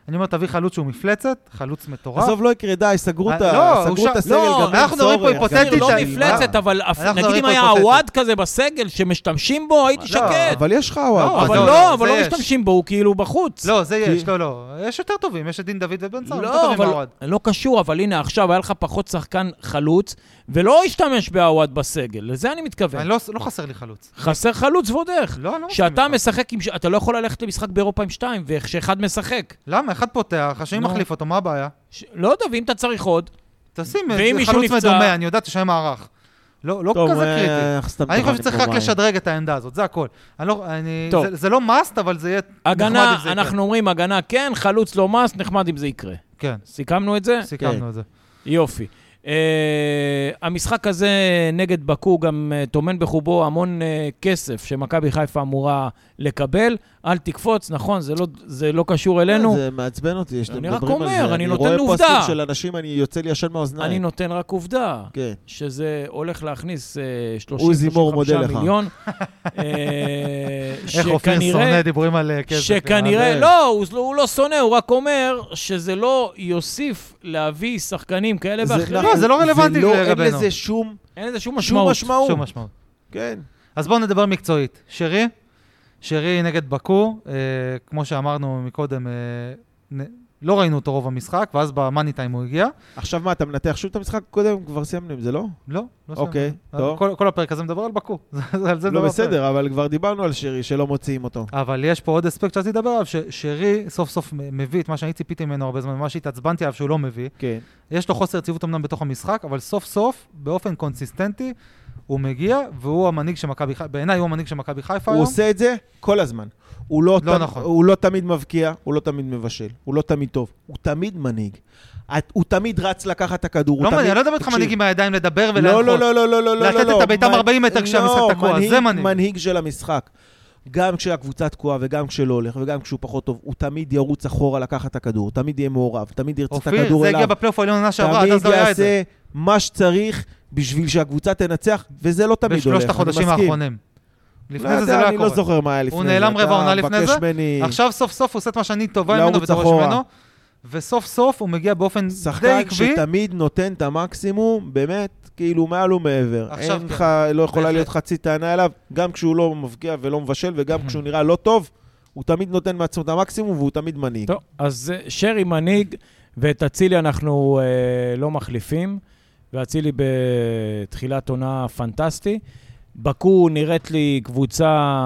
Speaker 2: אני אומר, תביא חלוץ שהוא מפלצת, חלוץ מטורף.
Speaker 3: עזוב, לא יקרה, די, סגרו
Speaker 2: אה,
Speaker 3: את
Speaker 2: לא,
Speaker 3: ה-
Speaker 2: הוא
Speaker 3: סגרו את
Speaker 2: ש-
Speaker 3: הסגל,
Speaker 1: לא,
Speaker 3: גם אין
Speaker 2: אנחנו מדברים פה
Speaker 3: צורך.
Speaker 2: היפותטית,
Speaker 1: אפילו לא
Speaker 2: אני-
Speaker 1: מפלצת, אבל אפ-
Speaker 2: אנחנו
Speaker 1: נגיד
Speaker 2: מדברים
Speaker 1: אם
Speaker 2: פה
Speaker 1: היה
Speaker 2: היפותטית.
Speaker 1: עווד כזה בסגל, שמשתמשים בו, הייתי שקט.
Speaker 3: אבל יש לך וואו.
Speaker 1: אבל
Speaker 2: לא,
Speaker 1: לא,
Speaker 2: לא,
Speaker 1: אבל
Speaker 2: זה
Speaker 1: לא
Speaker 2: יש.
Speaker 1: משתמשים בו, הוא כאילו בחוץ.
Speaker 2: לא, זה יש,
Speaker 3: כי-
Speaker 2: לא, לא. יש יותר טובים, יש את דין דוד ובן סער, הם יותר
Speaker 1: לא,
Speaker 2: טובים
Speaker 1: אבל
Speaker 2: מהאוהד.
Speaker 1: לא קשור, אבל הנה, עכשיו היה לך פחות שחקן חלוץ, ולא השתמש בעווד בסגל, לזה אני
Speaker 2: אני
Speaker 1: מתכוון.
Speaker 2: לא לא חסר לי חלוץ.
Speaker 1: חסר חלוץ ועוד איך.
Speaker 2: לא, אני לא מסכים
Speaker 1: שאתה
Speaker 2: איתך.
Speaker 1: משחק עם... ש- אתה לא יכול ללכת למשחק באירופה עם שתיים, וכשאחד משחק.
Speaker 2: למה? אחד פותח, השני
Speaker 1: נו.
Speaker 2: מחליף אותו, מה הבעיה?
Speaker 1: ש... לא יודע, ואם אתה צריך עוד,
Speaker 2: תשים
Speaker 1: ואם
Speaker 2: איזה
Speaker 1: מישהו
Speaker 2: חלוץ
Speaker 1: נפצע-
Speaker 2: מדומה, אני יודעת שאני מערך. לא לא
Speaker 3: טוב,
Speaker 2: כזה
Speaker 3: אה,
Speaker 2: קריטי.
Speaker 3: אנחנו סתם
Speaker 2: אני חושב
Speaker 3: טוחנים
Speaker 2: שצריך
Speaker 3: פה
Speaker 2: רק
Speaker 3: מים.
Speaker 2: לשדרג את העמדה הזאת, זה הכל. אני לא- אני-
Speaker 1: טוב.
Speaker 2: זה- זה לא must, אבל זה יהיה נחמד אם
Speaker 1: הגנה,
Speaker 2: זה יקרה.
Speaker 1: אנחנו אומרים הגנה כן, חלוץ לא מס, נחמד אם זה יקרה.
Speaker 2: כן,
Speaker 1: סיכמנו את זה?
Speaker 2: סיכמנו את זה.
Speaker 1: יופי. Uh, המשחק הזה נגד אה, בקו גם uh, טומן בחובו המון uh, כסף שמכבי חיפה אמורה לקבל. אל תקפוץ, נכון, זה לא, זה לא קשור אלינו.
Speaker 3: זה מעצבן אותי שאתם
Speaker 1: אני רק
Speaker 3: מדברים על
Speaker 1: אומר,
Speaker 3: זה.
Speaker 1: אני נותן
Speaker 3: רואה
Speaker 1: עובדה.
Speaker 3: פוסטים של אנשים, אני יוצא לי ישן
Speaker 1: אני
Speaker 3: מהאוזניים.
Speaker 1: נותן רק עובדה,
Speaker 3: לא כן.
Speaker 1: שזה הולך להכניס אה,
Speaker 3: עוזי מור מודה
Speaker 1: 30-35
Speaker 3: לך.
Speaker 1: מיליון. אה,
Speaker 2: איך אופיר
Speaker 1: שכנראה
Speaker 2: שונא דיבורים על אה, כסף.
Speaker 1: שכנראה,
Speaker 3: אבל-
Speaker 1: לא, הוא, לא- הוא לא שונא, הוא רק אומר שזה לא יוסיף להביא שחקנים כאלה ואחרים.
Speaker 2: נכון. לא, זה לא רלוונטי
Speaker 3: אין
Speaker 2: לגבינו.
Speaker 3: לזה שום
Speaker 1: אין לזה שום
Speaker 3: שום
Speaker 1: משמעות.
Speaker 3: משמעות.
Speaker 2: שום משמעות.
Speaker 3: כן.
Speaker 2: אז בואו נדבר מקצועית. שרי, שרי נגד בקו, אה, כמו שאמרנו מקודם, אה, נ... לא ראינו אותו רוב המשחק, ואז במאני טיים הוא הגיע.
Speaker 3: עכשיו מה, אתה מנתח שוב את המשחק הקודם? כבר סיימנו עם זה, לא?
Speaker 2: לא, לא סיימנו.
Speaker 3: אוקיי, טוב.
Speaker 2: כל, כל הפרק הזה מדבר על בקו. [LAUGHS] זה- זה- על זה
Speaker 3: לא
Speaker 2: מדבר הפרק.
Speaker 3: בסדר, אבל כבר דיברנו על שרי שלא מוציאים אותו.
Speaker 2: אבל יש פה עוד אספקט שרציתי לדבר עליו, ששרי סוף סוף מ- מביא את מה שאני ציפיתי ממנו הרבה זמן, מה שהתעצבנתי עליו שהוא לא מביא.
Speaker 3: כן.
Speaker 2: יש לו חוסר יציבות אמנם בתוך המשחק, אבל סוף סוף, באופן קונסיסטנטי, הוא מגיע, והוא המנהיג של מכבי חיפה, בעיניי הוא המנהיג של מכבי חיפה
Speaker 3: הוא
Speaker 2: היום.
Speaker 3: עושה את זה כל הזמן. הוא לא,
Speaker 2: לא
Speaker 3: תמ-
Speaker 2: נכון.
Speaker 3: הוא לא תמיד מבקיע, הוא לא תמיד מבשל, הוא לא תמיד טוב, הוא תמיד מנהיג. את- הוא תמיד רץ לקחת את הכדור, הוא
Speaker 2: לא,
Speaker 3: תמיד...
Speaker 2: אני לא מדבר איתך
Speaker 3: תקשיב,
Speaker 2: מנהיג עם הידיים לדבר
Speaker 3: לא,
Speaker 2: ולהנחות.
Speaker 3: לא, לא, לא, לא, לא, לא,
Speaker 2: לתת
Speaker 3: לא,
Speaker 2: את הביתה
Speaker 3: מנ-
Speaker 2: מ-40 מטר כשהמשחק
Speaker 3: לא,
Speaker 2: תקוע, זה מנהיג.
Speaker 3: מנהיג של המשחק. גם כשהקבוצה תקועה וגם כשלא הולך וגם כשהוא פחות טוב, הוא תמיד ירוץ אחורה לקחת את הכדור, הוא תמיד יהיה מעורב, תמיד ירצה את
Speaker 2: אופיר,
Speaker 3: הכדור
Speaker 2: זה
Speaker 3: אליו.
Speaker 2: הגיע בפלייאוף העליון עונה שעברה, עד
Speaker 3: תמיד
Speaker 2: אז לא היה את זה.
Speaker 3: יעשה מה שצריך בשביל שהקבוצה תנצח, וזה לא תמיד הולך, אני
Speaker 2: בשלושת
Speaker 3: מסכים.
Speaker 2: החודשים האחרונים. לפני זה
Speaker 3: יודע,
Speaker 2: זה לא היה
Speaker 3: אני לא
Speaker 2: קורה.
Speaker 3: זוכר מה היה לפני זה.
Speaker 2: נעלם רבע עונה לפני זה?
Speaker 3: אתה מבקש ממני...
Speaker 2: עכשיו סוף סוף הוא עושה את מה שאני טובה ממנו
Speaker 3: לרוץ
Speaker 2: ודורש
Speaker 3: אחורה.
Speaker 2: ממנו, וסוף סוף הוא מגיע באופן די
Speaker 3: שחקן
Speaker 2: עקבי. אה,
Speaker 3: שתמיד נותן את המקסימום, באמת, כאילו מעל ומעבר.
Speaker 2: עכשיו
Speaker 3: אין
Speaker 2: כן.
Speaker 3: לך, לא יכולה
Speaker 2: בהחלט.
Speaker 3: להיות חצי טענה אליו, גם כשהוא לא מבקיע ולא מבשל, וגם כשהוא נראה לא טוב, הוא תמיד נותן מעצמו את המקסימום והוא תמיד מנהיג.
Speaker 1: טוב, אז אה, שרי מנהיג, ואת אצילי אנחנו אה, לא מחליפים, ואצילי בתחילת עונה פנטסטי. בקו נראית לי קבוצה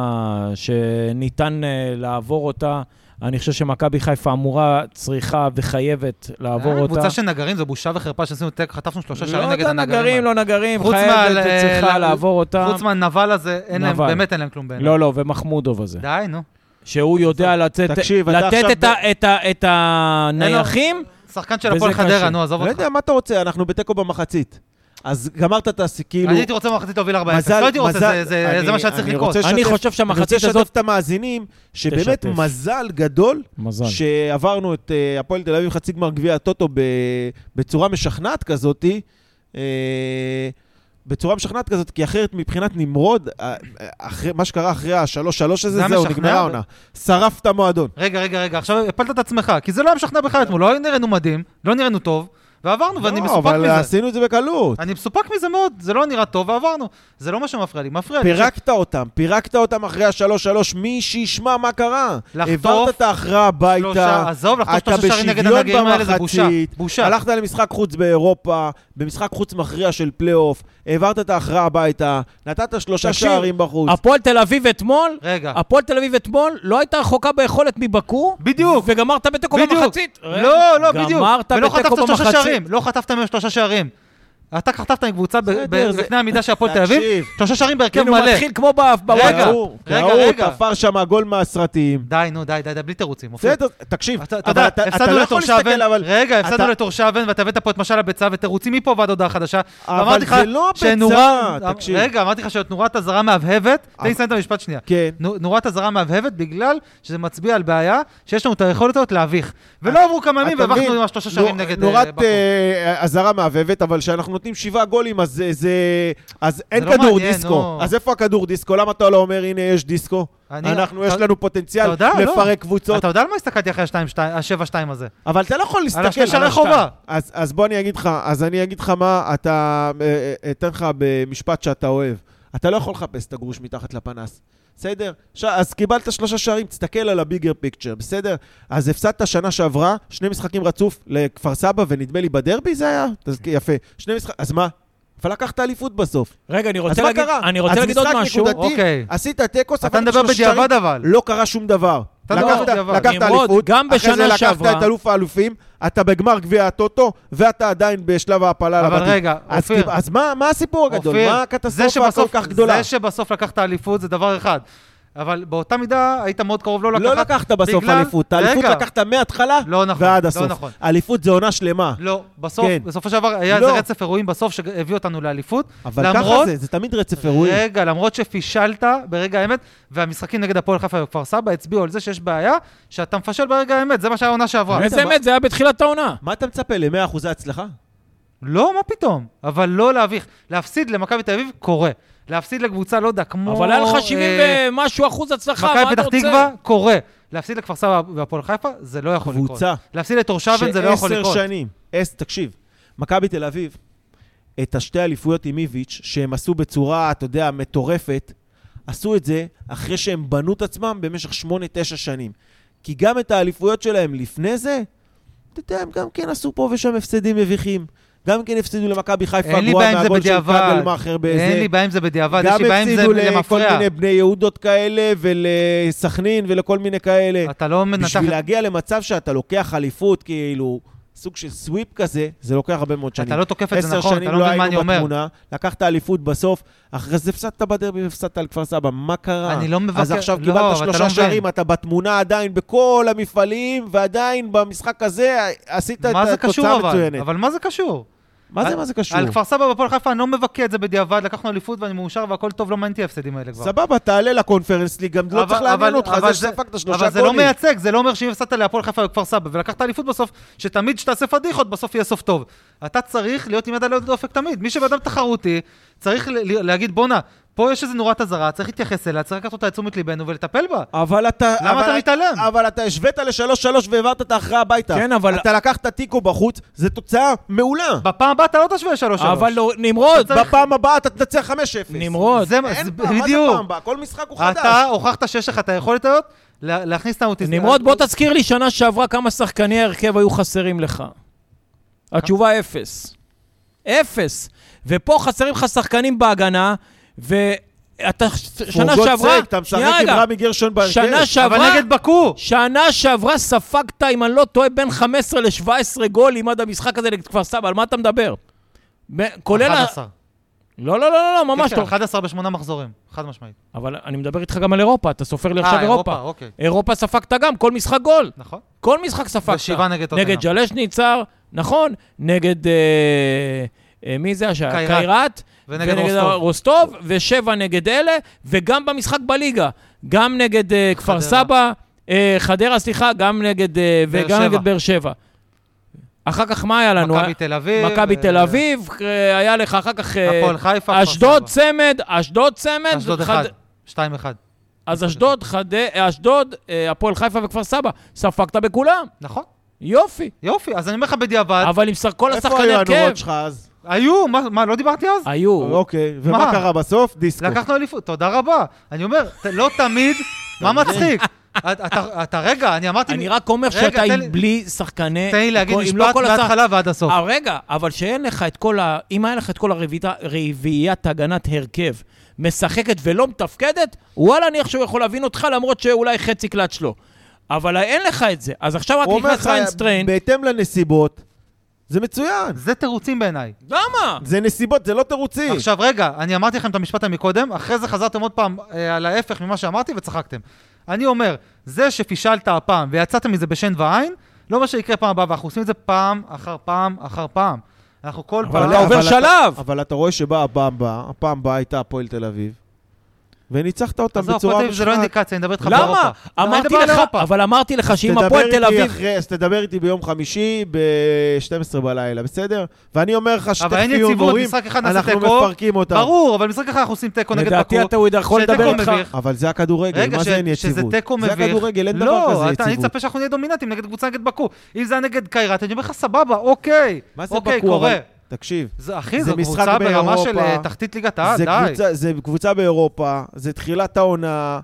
Speaker 1: שניתן אה, לעבור אותה. אני חושב שמכבי חיפה אמורה, צריכה וחייבת לעבור
Speaker 2: אה,
Speaker 1: אותה.
Speaker 2: קבוצה של נגרים, זו בושה וחרפה שעשינו תק, חטפנו שלושה שערים נגד
Speaker 1: לא נגרים,
Speaker 2: הנגרים.
Speaker 1: לא נגרים,
Speaker 2: חוץ
Speaker 1: חייבת,
Speaker 2: מה-
Speaker 1: צריכה
Speaker 2: ל-
Speaker 1: לעבור אותם.
Speaker 2: חוץ מהנבל הזה, אין להם,
Speaker 1: נבל.
Speaker 2: באמת אין להם כלום בעיניי.
Speaker 1: לא, לא, ומחמודוב הזה.
Speaker 2: די, נו.
Speaker 1: שהוא יודע לתת
Speaker 3: תקשיב, אתה
Speaker 1: לתת
Speaker 3: עכשיו
Speaker 1: את ה- את ה- את הנייחים,
Speaker 2: שחקן של
Speaker 1: וזה
Speaker 2: הפועל
Speaker 1: קשה.
Speaker 2: חדרה, נו, עזוב
Speaker 3: לא
Speaker 2: אותך.
Speaker 3: יודע, מה אתה רוצה? אנחנו בתיקו במחצית. אז גמרת את הס... כאילו...
Speaker 2: אני הייתי רוצה במחצית להוביל 4-0.
Speaker 3: מזל-
Speaker 2: לא הייתי רוצה,
Speaker 3: מזל-
Speaker 2: זה- זה
Speaker 3: אני-
Speaker 2: זה מה שהיה צריך
Speaker 3: אני
Speaker 2: לקרות.
Speaker 3: רוצה
Speaker 1: אני
Speaker 3: לשתף-
Speaker 1: חושב שהמחצית
Speaker 3: אני רוצה
Speaker 1: הזאת...
Speaker 3: לשתף את המאזינים, שבאמת
Speaker 1: תשתף.
Speaker 3: מזל גדול
Speaker 1: מזל.
Speaker 3: שעברנו את אה, הפועל תל אביב חצי גמר גביע הטוטו ב- בצורה משכנעת כזאתי. אה, בצורה משכנעת כזאת, כי אחרת מבחינת נמרוד, אה, אה, אחרי, מה שקרה אחרי השלוש שלוש הזה,
Speaker 2: זה היה
Speaker 3: זהו,
Speaker 2: משכנע?
Speaker 3: נגמרה העונה. שרף את המועדון.
Speaker 2: רגע, רגע, רגע, עכשיו הפלת את עצמך, כי זה לא היה משכנע בכלל אתמול, לא נראינו מדהים, לא נראינו טוב, ועברנו, ואני
Speaker 3: לא,
Speaker 2: מסופק
Speaker 3: אבל
Speaker 2: מזה.
Speaker 3: עשינו את זה בקלות.
Speaker 2: אני מסופק מזה מאוד, זה לא נראה טוב, ועברנו. זה לא מה שמפריע לי, מפריע לי.
Speaker 3: פירקת אותם, פירקת אותם אחרי השלוש שלוש, מי שישמע מה קרה.
Speaker 2: לחטוף
Speaker 3: העברת את ההכרעה
Speaker 2: ש- שלושה,
Speaker 3: הביתה.
Speaker 2: עזוב, לחטוף
Speaker 3: אתה
Speaker 2: שלושה שערים נגד
Speaker 3: בשוויון
Speaker 2: הנגרים האלה זה בושה.
Speaker 3: במחצית,
Speaker 2: בושה.
Speaker 3: הלכת למשחק חוץ באירופה, במשחק חוץ מכריע של פלייאוף, העברת את ההכרעה הביתה, נתת שלושה
Speaker 1: תקשיב,
Speaker 3: שערים בחוץ.
Speaker 1: הפועל תל אביב אתמול,
Speaker 2: רגע.
Speaker 1: הפועל תל אביב אתמול לא הייתה רחוקה ביכולת מבקו,
Speaker 2: בדיוק.
Speaker 1: וגמרת בתיקו
Speaker 2: בדיוק.
Speaker 1: במחצית.
Speaker 2: לא, לא, בדיוק.
Speaker 1: גמרת
Speaker 2: ולא
Speaker 1: בתיקו
Speaker 2: חטפת שלושה
Speaker 1: במחצית.
Speaker 2: שערים. לא חטפת מהם שלושה שערים. אתה חטפת עם קבוצה ב-
Speaker 3: בסדר,
Speaker 2: ב-
Speaker 3: זה-
Speaker 2: בקנה המידה של הפועל תל אביב,
Speaker 3: תקשיב.
Speaker 2: שלושה שערים בהרכב
Speaker 1: כאילו,
Speaker 2: מלא.
Speaker 1: מתחיל כמו ב-
Speaker 2: רגע,
Speaker 1: בוואטה.
Speaker 3: ראו,
Speaker 2: רגע,
Speaker 3: ראו,
Speaker 2: רגע.
Speaker 3: תפר שם גול מהסרטים.
Speaker 2: די, נו, די, די, די, בלי תירוצים. אופיר.
Speaker 3: בסדר, תקשיב,
Speaker 2: אתה אתה
Speaker 3: אבל
Speaker 2: יודע,
Speaker 3: אתה אתה
Speaker 2: הפסדנו
Speaker 3: לא יכול
Speaker 2: לתורשבן,
Speaker 3: להסתכל, אבל...
Speaker 2: רגע, הפסדנו
Speaker 3: אתה-
Speaker 2: לתורשבן, ואתה הבאת פה את משל הביצה, ותירוצים מפה ועד הודעה חדשה.
Speaker 3: אבל
Speaker 2: ואמרתי לך
Speaker 3: זה לא הביצה,
Speaker 2: שנורה-
Speaker 3: תקשיב. אה.
Speaker 2: רגע, אמרתי לך שאת נורת אזהרה מהבהבת, תן לי לסיים את המשפט שנייה.
Speaker 3: כן.
Speaker 2: נו- נורת אזהרה מהבהבת בגלל שזה מצביע על בעיה שיש לנו את היכולת הזאת להביך. ולא עברו כמה ימים
Speaker 3: אה, אתה מבין?
Speaker 2: והבכנו עם השלושה שערים
Speaker 3: נו-
Speaker 2: נגד... אה,
Speaker 3: נורת
Speaker 2: באקו.
Speaker 3: אה, אזהרה מהבהבת, אבל כשאנחנו נותנים שבעה גולים, אז זה- זה... אז אין
Speaker 2: לא
Speaker 3: כדור
Speaker 2: מעניין,
Speaker 3: דיסקו.
Speaker 2: נו.
Speaker 3: אז איפה הכדור דיסקו? למה אתה לא אומר, הנה, יש דיסקו?
Speaker 2: אני- לא-
Speaker 3: אנחנו,
Speaker 2: אתה-
Speaker 3: יש לנו פוטנציאל
Speaker 2: אתה יודע, לא.
Speaker 3: לפרק קבוצות.
Speaker 2: אתה יודע על מה הסתכלתי אחרי ה-7-2 הזה?
Speaker 3: אבל אתה לא יכול
Speaker 2: על
Speaker 3: להסתכל
Speaker 2: השני שערי
Speaker 3: השטר.
Speaker 2: חובה.
Speaker 3: אז, אז בוא אני אגיד לך, אז אני אגיד לך מה אתה, אה, אה, אתן לך במשפט שאתה אוהב. אתה לא יכול לחפש את הגרוש מתחת לפנס, בסדר? עכשיו, אז קיבלת שלושה שערים, תסתכל על הביגר פיקצ'ר, בסדר? אז הפסדת שנה שעברה, שני משחקים רצוף לכפר סבא, ונדמה לי בדרבי זה היה? אז
Speaker 1: כן.
Speaker 3: יפה. שני משחקים, אז מה? אבל לקחת אליפות בסוף.
Speaker 1: רגע, אני
Speaker 3: אז
Speaker 1: רוצה
Speaker 3: מה
Speaker 1: להגיד-
Speaker 3: קרה?
Speaker 1: אני רוצה
Speaker 3: אז
Speaker 1: להגיד עוד
Speaker 3: משחק
Speaker 1: משהו.
Speaker 3: נקודתי,
Speaker 2: אוקיי.
Speaker 3: עשית תיקו,
Speaker 2: אתה
Speaker 3: ספגת
Speaker 2: מדבר
Speaker 3: שלושה שערים,
Speaker 2: בדיעבד אבל.
Speaker 3: לא קרה שום דבר.
Speaker 2: אתה מדבר
Speaker 3: לקחת-
Speaker 2: בדיעבד.
Speaker 3: לקחת
Speaker 1: נמרוד,
Speaker 3: אליפות,
Speaker 1: גם
Speaker 3: אחרי זה
Speaker 1: בשנה
Speaker 3: לקחת
Speaker 1: שעברה-
Speaker 3: את אלוף האלופים, אתה בגמר גביע הטוטו, ואתה עדיין בשלב ההעפלה
Speaker 2: אבל
Speaker 3: לבתים.
Speaker 2: רגע,
Speaker 3: אז
Speaker 2: אופיר.
Speaker 3: כאילו, אז מה מה הסיפור הגדול?
Speaker 2: אופיר,
Speaker 3: מה
Speaker 2: זה
Speaker 3: הקטסטרופה הכל
Speaker 2: שבסוף-
Speaker 3: כך גדולה?
Speaker 2: זה שבסוף לקחת אליפות זה דבר אחד. אבל באותה מידה היית מאוד קרוב לא לקחת.
Speaker 3: לא לקחת בסוף
Speaker 2: בגלל-
Speaker 3: אליפות. את האליפות
Speaker 2: רגע.
Speaker 3: לקחת מההתחלה
Speaker 2: לא נכון,
Speaker 3: ועד
Speaker 2: לא
Speaker 3: הסוף.
Speaker 2: נכון.
Speaker 3: אליפות זה עונה שלמה.
Speaker 2: לא, בסוף,
Speaker 3: כן.
Speaker 2: בסופו של דבר היה
Speaker 3: לא.
Speaker 2: איזה רצף אירועים בסוף שהביא אותנו לאליפות.
Speaker 3: אבל ככה זה, זה תמיד רצף אירועים.
Speaker 2: רגע, למרות שפישלת ברגע האמת, והמשחקים נגד הפועל חיפה וכפר סבא הצביעו על זה שיש בעיה, שאתה מפשל ברגע האמת, זה מה שהיה העונה שעברה.
Speaker 1: איזה
Speaker 3: מה-
Speaker 1: אמת, זה היה בתחילת העונה.
Speaker 3: מה אתה מצפה, ל-100 אחוזי הצלחה?
Speaker 2: לא, מה פתאום, אבל לא להביך. להפסיד למכבי תל אביב קורה. להפסיד לקבוצה, לא יודע, כמו...
Speaker 1: אבל היה לך 70
Speaker 2: אה,
Speaker 1: ומשהו אחוז הצלחה, מה
Speaker 2: מכבי
Speaker 1: אתה
Speaker 2: פתח
Speaker 1: רוצה?
Speaker 2: תקווה קורה. להפסיד לכפר סבא והפועל חיפה, זה לא יכול לקרות.
Speaker 3: קבוצה.
Speaker 2: להפסיד לתורשבן זה לא יכול
Speaker 3: שעשר
Speaker 2: לקרות.
Speaker 3: שנים, עש, תקשיב, מכבי תל אביב, את השתי אליפויות עם איביץ', שהם עשו בצורה, אתה יודע, מטורפת, עשו את זה אחרי שהם בנו את עצמם במשך שמונה, תשע שנים. כי גם את האליפויות שלהם לפני זה, אתה יודע, הם גם כן עשו פה ושם הפסדים מביכים. גם כן הפסידו למכבי חיפה
Speaker 2: אין לי
Speaker 3: גרועה
Speaker 2: בעיה עם זה
Speaker 3: מהגול של
Speaker 2: בדיעבד.
Speaker 3: כגלמאכר באיזה...
Speaker 2: אין לי בעיה עם זה בדיעבד, יש
Speaker 3: גם
Speaker 2: לי בעיה עם זה
Speaker 3: הפסידו לכל
Speaker 2: למפרע.
Speaker 3: מיני בני יהודות כאלה ולסכנין ולכל מיני כאלה.
Speaker 2: אתה לא מנתח...
Speaker 3: בשביל להגיע למצב שאתה לוקח אליפות, כאילו, סוג של סוויפ כזה, זה לוקח הרבה מאוד שנים.
Speaker 2: אתה לא תוקף את זה
Speaker 3: עשר
Speaker 2: נכון,
Speaker 3: שנים
Speaker 2: אתה לא מבין מה אני
Speaker 3: היינו
Speaker 2: אומר.
Speaker 3: בתמונה, לקחת אליפות בסוף, אחרי זה הפסדת בדרבי והפסדת על כפר סבא, מה קרה?
Speaker 2: אני לא מבקר-
Speaker 3: אז עכשיו
Speaker 2: לא, אבל אתה
Speaker 3: קיבלת שלושה
Speaker 2: לא מבין.
Speaker 3: שערים, אתה בתמונה עדיין בכל המפעלים, ועדיין במשחק הזה עשית
Speaker 2: מה זה
Speaker 3: את
Speaker 2: קשור
Speaker 3: התוצאה
Speaker 2: אבל?
Speaker 3: מצוינת.
Speaker 2: אבל מה זה קשור?
Speaker 3: מה זה
Speaker 2: על-
Speaker 3: מה זה קשור?
Speaker 2: על כפר סבא והפועל חיפה אני לא מבכה את זה בדיעבד, לקחנו אליפות ואני מאושר והכל טוב, לא מעניין אותי ההפסדים האלה כבר.
Speaker 3: סבבה, תעלה לקונפרנס ליג, גם לא
Speaker 2: אבל-
Speaker 3: צריך
Speaker 2: אבל-
Speaker 3: לעניין אותך,
Speaker 2: אבל
Speaker 3: זה שספגת שלושה גולים.
Speaker 2: אבל זה לא מייצג, זה לא אומר שאם הפסדת להפועל חיפה וכפר סבא ולקחת אליפות בסוף, שתמיד כשתעשה פדיחות בסוף יהיה סוף טוב. אתה צריך להיות עם יד על הדופק תמיד. מי שבן אדם תחרותי, צריך ל- ל- להגיד בואנה, פה יש איזה נורת אזהרה, צריך להתייחס אליה, צריך לקחת אותה לתשומת ליבנו ולטפל בה.
Speaker 3: אבל אתה...
Speaker 2: למה
Speaker 3: אבל
Speaker 2: אתה מתעלם?
Speaker 3: אבל אתה השווית לשלוש-שלוש והעברת את ההכרעה הביתה.
Speaker 1: כן, אבל-
Speaker 3: אתה לקחת תיקו בחוץ, זו תוצאה מעולה.
Speaker 2: בפעם הבאה אתה לא תשווה שלוש שלוש.
Speaker 1: אבל לא- נמרוד,
Speaker 2: צריך-
Speaker 3: בפעם הבאה אתה תנצח 5-0.
Speaker 1: נמרוד.
Speaker 2: זה-
Speaker 3: אין
Speaker 2: זה-
Speaker 3: פעם, מה זה
Speaker 2: בדיוק.
Speaker 3: פעם הבאה? כל משחק הוא חדש.
Speaker 2: אתה הוכחת שיש לך את היכולת הזאת לה- להכניס את האוטיסטים.
Speaker 1: נמרוד, בוא תזכיר לי שנה שעברה כמה שחקני ההרכב היו חסרים לך. התשובה אפס. אפס. ופה חסרים לך שחקנים בהגנה, ואתה שנה
Speaker 3: פורגו
Speaker 1: שעברה...
Speaker 3: צייק, אתה משחק
Speaker 1: שנייה,
Speaker 3: עם
Speaker 1: רגע.
Speaker 3: רמי גרשון בהרכב.
Speaker 1: שנה
Speaker 2: אבל
Speaker 1: שעברה...
Speaker 2: נגד בקו.
Speaker 1: שנה שעברה ספגת, אם אני לא טועה, בין 15 ל-17 גולים עד המשחק הזה נגד כפר סבא, על מה אתה מדבר? ב- כולל... ה-
Speaker 2: 11.
Speaker 1: לא, לא, לא, לא, לא, ממש
Speaker 2: כן, כן,
Speaker 1: לא.
Speaker 2: 11 בשמונה מחזורים, חד משמעית.
Speaker 1: אבל אני מדבר איתך גם על אירופה, אתה סופר לי עכשיו
Speaker 2: אה, אירופה,
Speaker 1: אירופה.
Speaker 2: אוקיי.
Speaker 1: אירופה ספגת גם, כל משחק גול.
Speaker 2: נכון.
Speaker 1: כל משחק ספגת.
Speaker 2: ושבעה נגד טוטנהאם.
Speaker 1: נגד ג'לש ניצר, נכון, נגד... אה, אה, מי זה השעה?
Speaker 2: קיירת.
Speaker 1: קיירת.
Speaker 2: ונגד רוסטוב.
Speaker 1: רוסטוב, ושבע נגד אלה, וגם במשחק בליגה. גם נגד אה, כפר
Speaker 2: חדרה.
Speaker 1: סבא, אה, חדרה, סליחה, גם נגד... אה,
Speaker 2: באר
Speaker 1: וגם
Speaker 2: שבע.
Speaker 1: נגד באר שבע. אחר כך מה היה לנו?
Speaker 2: מכבי תל אביב.
Speaker 1: מכבי
Speaker 2: אה,
Speaker 1: תל אביב, אה, היה לך אחר כך... אה,
Speaker 2: הפועל חיפה. כפר
Speaker 1: אשדוד כן,
Speaker 2: סבא.
Speaker 1: צמד, אשדוד צמד.
Speaker 2: אשדוד
Speaker 1: חד-
Speaker 2: אחד. שתיים אחד.
Speaker 1: אז אשדוד, חד- אה, אשדוד, אה, הפועל חיפה וכפר סבא. ספגת בכולם,
Speaker 2: נכון.
Speaker 1: יופי.
Speaker 2: יופי, אז אני אומר לך בדיעבד,
Speaker 1: אבל עם שר- כל
Speaker 3: איפה
Speaker 1: השחקני
Speaker 3: היו
Speaker 1: הרכב...
Speaker 3: הנורות שלך אז?
Speaker 2: היו, מה- מה, לא דיברתי אז?
Speaker 1: היו.
Speaker 3: אוקיי, ומה
Speaker 2: מה?
Speaker 3: קרה בסוף?
Speaker 1: אה,
Speaker 3: דיסקו.
Speaker 2: לקחנו אליפות, תודה רבה. אני אומר, ת- לא
Speaker 1: [LAUGHS]
Speaker 2: תמיד, מה מצחיק? אתה- אתה- אתה רגע, אני אמרתי,
Speaker 1: אני רק אומר
Speaker 2: רגע,
Speaker 1: שאתה
Speaker 2: תן
Speaker 1: עם
Speaker 2: לי-
Speaker 1: בלי שחקני...
Speaker 2: תן לי להגיד
Speaker 1: כל- אם לא
Speaker 2: משפט
Speaker 1: כל השח-
Speaker 2: מההתחלה ועד הסוף.
Speaker 1: אה, רגע, אבל שאין לך את כל ה... אם היה לך את כל הרביעית- רביעיית הגנת הרכב משחקת ולא מתפקדת, וואלה, אני איכשהו יכול להבין אותך, למרות שאולי חצי קלאץ' לא. אבל אין לך את זה. אז עכשיו רק
Speaker 3: הוא אומר
Speaker 1: נכנס
Speaker 3: לך,
Speaker 1: ריינסטריין.
Speaker 3: בהתאם לנסיבות, זה מצוין.
Speaker 2: זה תירוצים בעיניי.
Speaker 1: למה?
Speaker 3: זה נסיבות, זה לא תירוצים.
Speaker 1: אוקיי.
Speaker 2: עכשיו רגע, אני אמרתי לכם את המשפט הזה מקודם, אחרי זה חזרתם עוד פעם אה, על ההפך ממה שאמרתי וצחקתם. אני אומר, זה שפישלת הפעם ויצאתם מזה בשן ועין, לא מה שיקרה פעם הבאה, ואנחנו עושים את זה פעם אחר פעם אחר פעם. אנחנו כל
Speaker 1: אבל
Speaker 2: פעם...
Speaker 1: אתה עובר
Speaker 3: אבל
Speaker 1: שלב.
Speaker 3: אבל אתה רואה שבאה הפעם הבאה, הפעם הבאה הייתה הפועל תל אביב, וניצחת אותם
Speaker 2: עזוב,
Speaker 3: בצורה
Speaker 2: הפועל תל אביב זה לא
Speaker 3: משכנעת.
Speaker 2: אינדיקציה, אני מדבר איתך באירופה.
Speaker 1: למה? אמרתי
Speaker 2: אני מדבר על
Speaker 1: לך,
Speaker 2: אירופה.
Speaker 1: אבל אמרתי לך שאם
Speaker 3: תדבר
Speaker 1: הפועל תל
Speaker 3: איתי
Speaker 1: אביב...
Speaker 3: אחרי- אז תדבר איתי ביום חמישי ב-12 בלילה, בסדר? ואני אומר לך
Speaker 2: אבל אין
Speaker 3: שתכפי
Speaker 2: יציבות,
Speaker 3: הומורים,
Speaker 2: משחק אחד נעשה
Speaker 3: אנחנו
Speaker 2: תיקו.
Speaker 3: מפרקים אותם.
Speaker 2: ברור, אבל משחק אחד אנחנו עושים תיקו נגד
Speaker 1: לדעתי
Speaker 2: בקו.
Speaker 1: אתה הוא יכול
Speaker 2: שתיקו
Speaker 1: לדבר איתך.
Speaker 2: מביך.
Speaker 3: אבל זה הכדורגל,
Speaker 2: רגע,
Speaker 3: מה
Speaker 2: ש-
Speaker 3: זה אין יציבות?
Speaker 2: שזה תיקו מביך.
Speaker 3: זה הכדורגל, אין
Speaker 2: לא,
Speaker 3: דבר כזה
Speaker 2: אתה- אני
Speaker 3: יציבות.
Speaker 2: מצפה שאנחנו נהיה דומיננטים נגד קבוצה נגד בקו. אם זה היה נגד קיירת, אני אומר לך, סבבה, אוקיי.
Speaker 3: מה זה
Speaker 2: אוקיי,
Speaker 3: בקו,
Speaker 2: קורה.
Speaker 3: אבל- תקשיב,
Speaker 2: זה, אחי,
Speaker 3: זה
Speaker 2: זו
Speaker 3: משחק
Speaker 2: קבוצה ברמה
Speaker 3: באירופה.
Speaker 2: של אה, תחתית ליגת העל,
Speaker 3: זה
Speaker 2: די.
Speaker 3: קבוצה- זה קבוצה באירופה, זה תחילת העונה,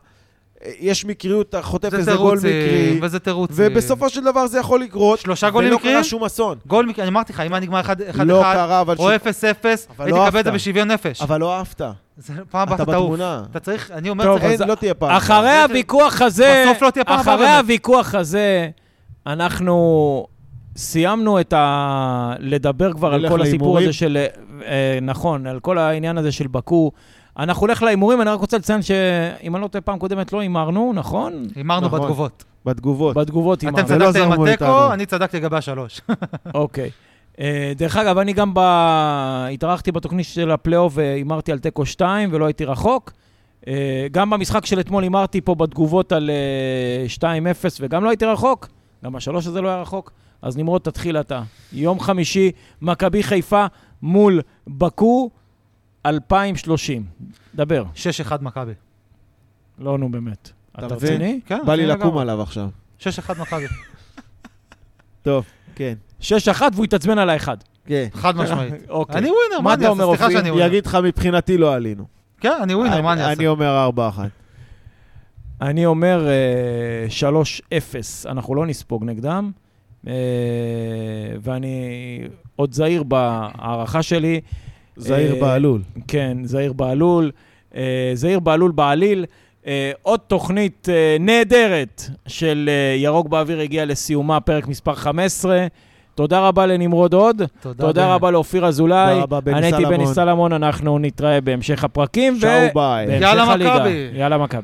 Speaker 3: אה, יש מקריות, אתה חוטף
Speaker 2: זה
Speaker 3: איזה גול מקרי,
Speaker 2: תירוצים, וזה תירוצים.
Speaker 3: ובסופו של דבר זה יכול לקרות,
Speaker 2: שלושה גולים
Speaker 3: ולא
Speaker 2: מקריים?
Speaker 3: קרה שום אסון.
Speaker 2: גול מקרי, אני אמרתי לך, אם היה נגמר 1-1,
Speaker 3: לא קרה, אבל
Speaker 2: או 0-0,
Speaker 3: ש- אבל
Speaker 2: הייתי
Speaker 3: לא
Speaker 2: מקבל את זה
Speaker 3: אהבת.
Speaker 2: בשוויון נפש.
Speaker 3: אבל לא אהבת.
Speaker 2: זה פעם הבאה
Speaker 3: אתה
Speaker 2: אתה תעוף.
Speaker 3: בתמונה.
Speaker 2: אתה צריך, אני אומר,
Speaker 3: טוב,
Speaker 2: צריך-
Speaker 3: אז לא תהיה פעם.
Speaker 1: אחרי הוויכוח הזה,
Speaker 2: בסוף לא תהיה פעם הבאה
Speaker 1: אחרי
Speaker 2: באמת.
Speaker 1: הוויכוח הזה, אנחנו סיימנו את ה... לדבר כבר על
Speaker 3: נלך
Speaker 1: כל הסיפור
Speaker 3: להימורים.
Speaker 1: הזה של... אה, נכון, על כל העניין הזה של בקו. אנחנו נלך להימורים, אני רק רוצה לציין שאם אני לא טועה, פעם קודמת לא הימרנו, נכון?
Speaker 2: הימרנו
Speaker 3: נכון.
Speaker 2: בתגובות.
Speaker 3: בתגובות.
Speaker 1: בתגובות
Speaker 2: אתם
Speaker 1: הימרנו.
Speaker 3: צד- ולא
Speaker 2: צדקתם עם
Speaker 3: זרמו
Speaker 2: התיקו,
Speaker 3: איתנו.
Speaker 2: אני צדקתי לגבי השלוש. [LAUGHS]
Speaker 1: אוקיי. אה, דרך אגב, אני גם ב... התארחתי בתוכנית של הפלייאוף והימרתי על תיקו 2 ולא הייתי רחוק. אה, גם במשחק של אתמול הימרתי פה בתגובות על אה, 2-0 וגם לא הייתי רחוק. גם השלוש הזה לא היה רחוק. אז נמרוד, תתחיל אתה. יום חמישי, מכבי חיפה מול בקו 2030. דבר.
Speaker 2: 6-1 מכבי.
Speaker 1: לא, נו, באמת.
Speaker 3: אתה
Speaker 1: אתה
Speaker 3: מבין?
Speaker 1: רציני?
Speaker 2: כן,
Speaker 3: בא לי
Speaker 2: לגמרי.
Speaker 3: לקום עליו עכשיו.
Speaker 2: 6-1 מכבי.
Speaker 3: טוב, כן,
Speaker 1: 6-1 והוא יתעצבן על האחד.
Speaker 3: כן. [LAUGHS]
Speaker 2: חד משמעית.
Speaker 1: אוקיי.
Speaker 2: אני ווינר,
Speaker 1: מה
Speaker 2: מה
Speaker 1: אתה
Speaker 2: אני
Speaker 1: אומר,
Speaker 2: אעשה? סליחה
Speaker 1: אופיר?
Speaker 2: שאני ווינר.
Speaker 3: יגיד לך, מבחינתי לא עלינו.
Speaker 2: כן, אני ווינר, מה אני
Speaker 3: אני
Speaker 2: אעשה?
Speaker 3: אומר 4-1.
Speaker 1: אני אומר אה, 3-0, אנחנו לא נספוג נגדם, אה, ואני עוד זהיר בהערכה שלי.
Speaker 3: זהיר
Speaker 1: אה,
Speaker 3: בהלול.
Speaker 1: כן, זהיר בהלול. אה, זהיר בהלול בעליל. אה, עוד תוכנית אה, נהדרת של אה, ירוק באוויר הגיעה לסיומה, פרק מספר 15. תודה רבה לנמרוד עוד, תודה
Speaker 2: באמת.
Speaker 1: רבה לאופיר אזולאי.
Speaker 3: תודה רבה, בני
Speaker 1: אני הייתי בני
Speaker 3: סלמון.
Speaker 1: סלמון, אנחנו נתראה בהמשך הפרקים.
Speaker 3: צ'או ביי.
Speaker 1: ובהמשך
Speaker 2: יאללה,
Speaker 1: הליגה.
Speaker 2: מכבי.
Speaker 1: יאללה מכבי.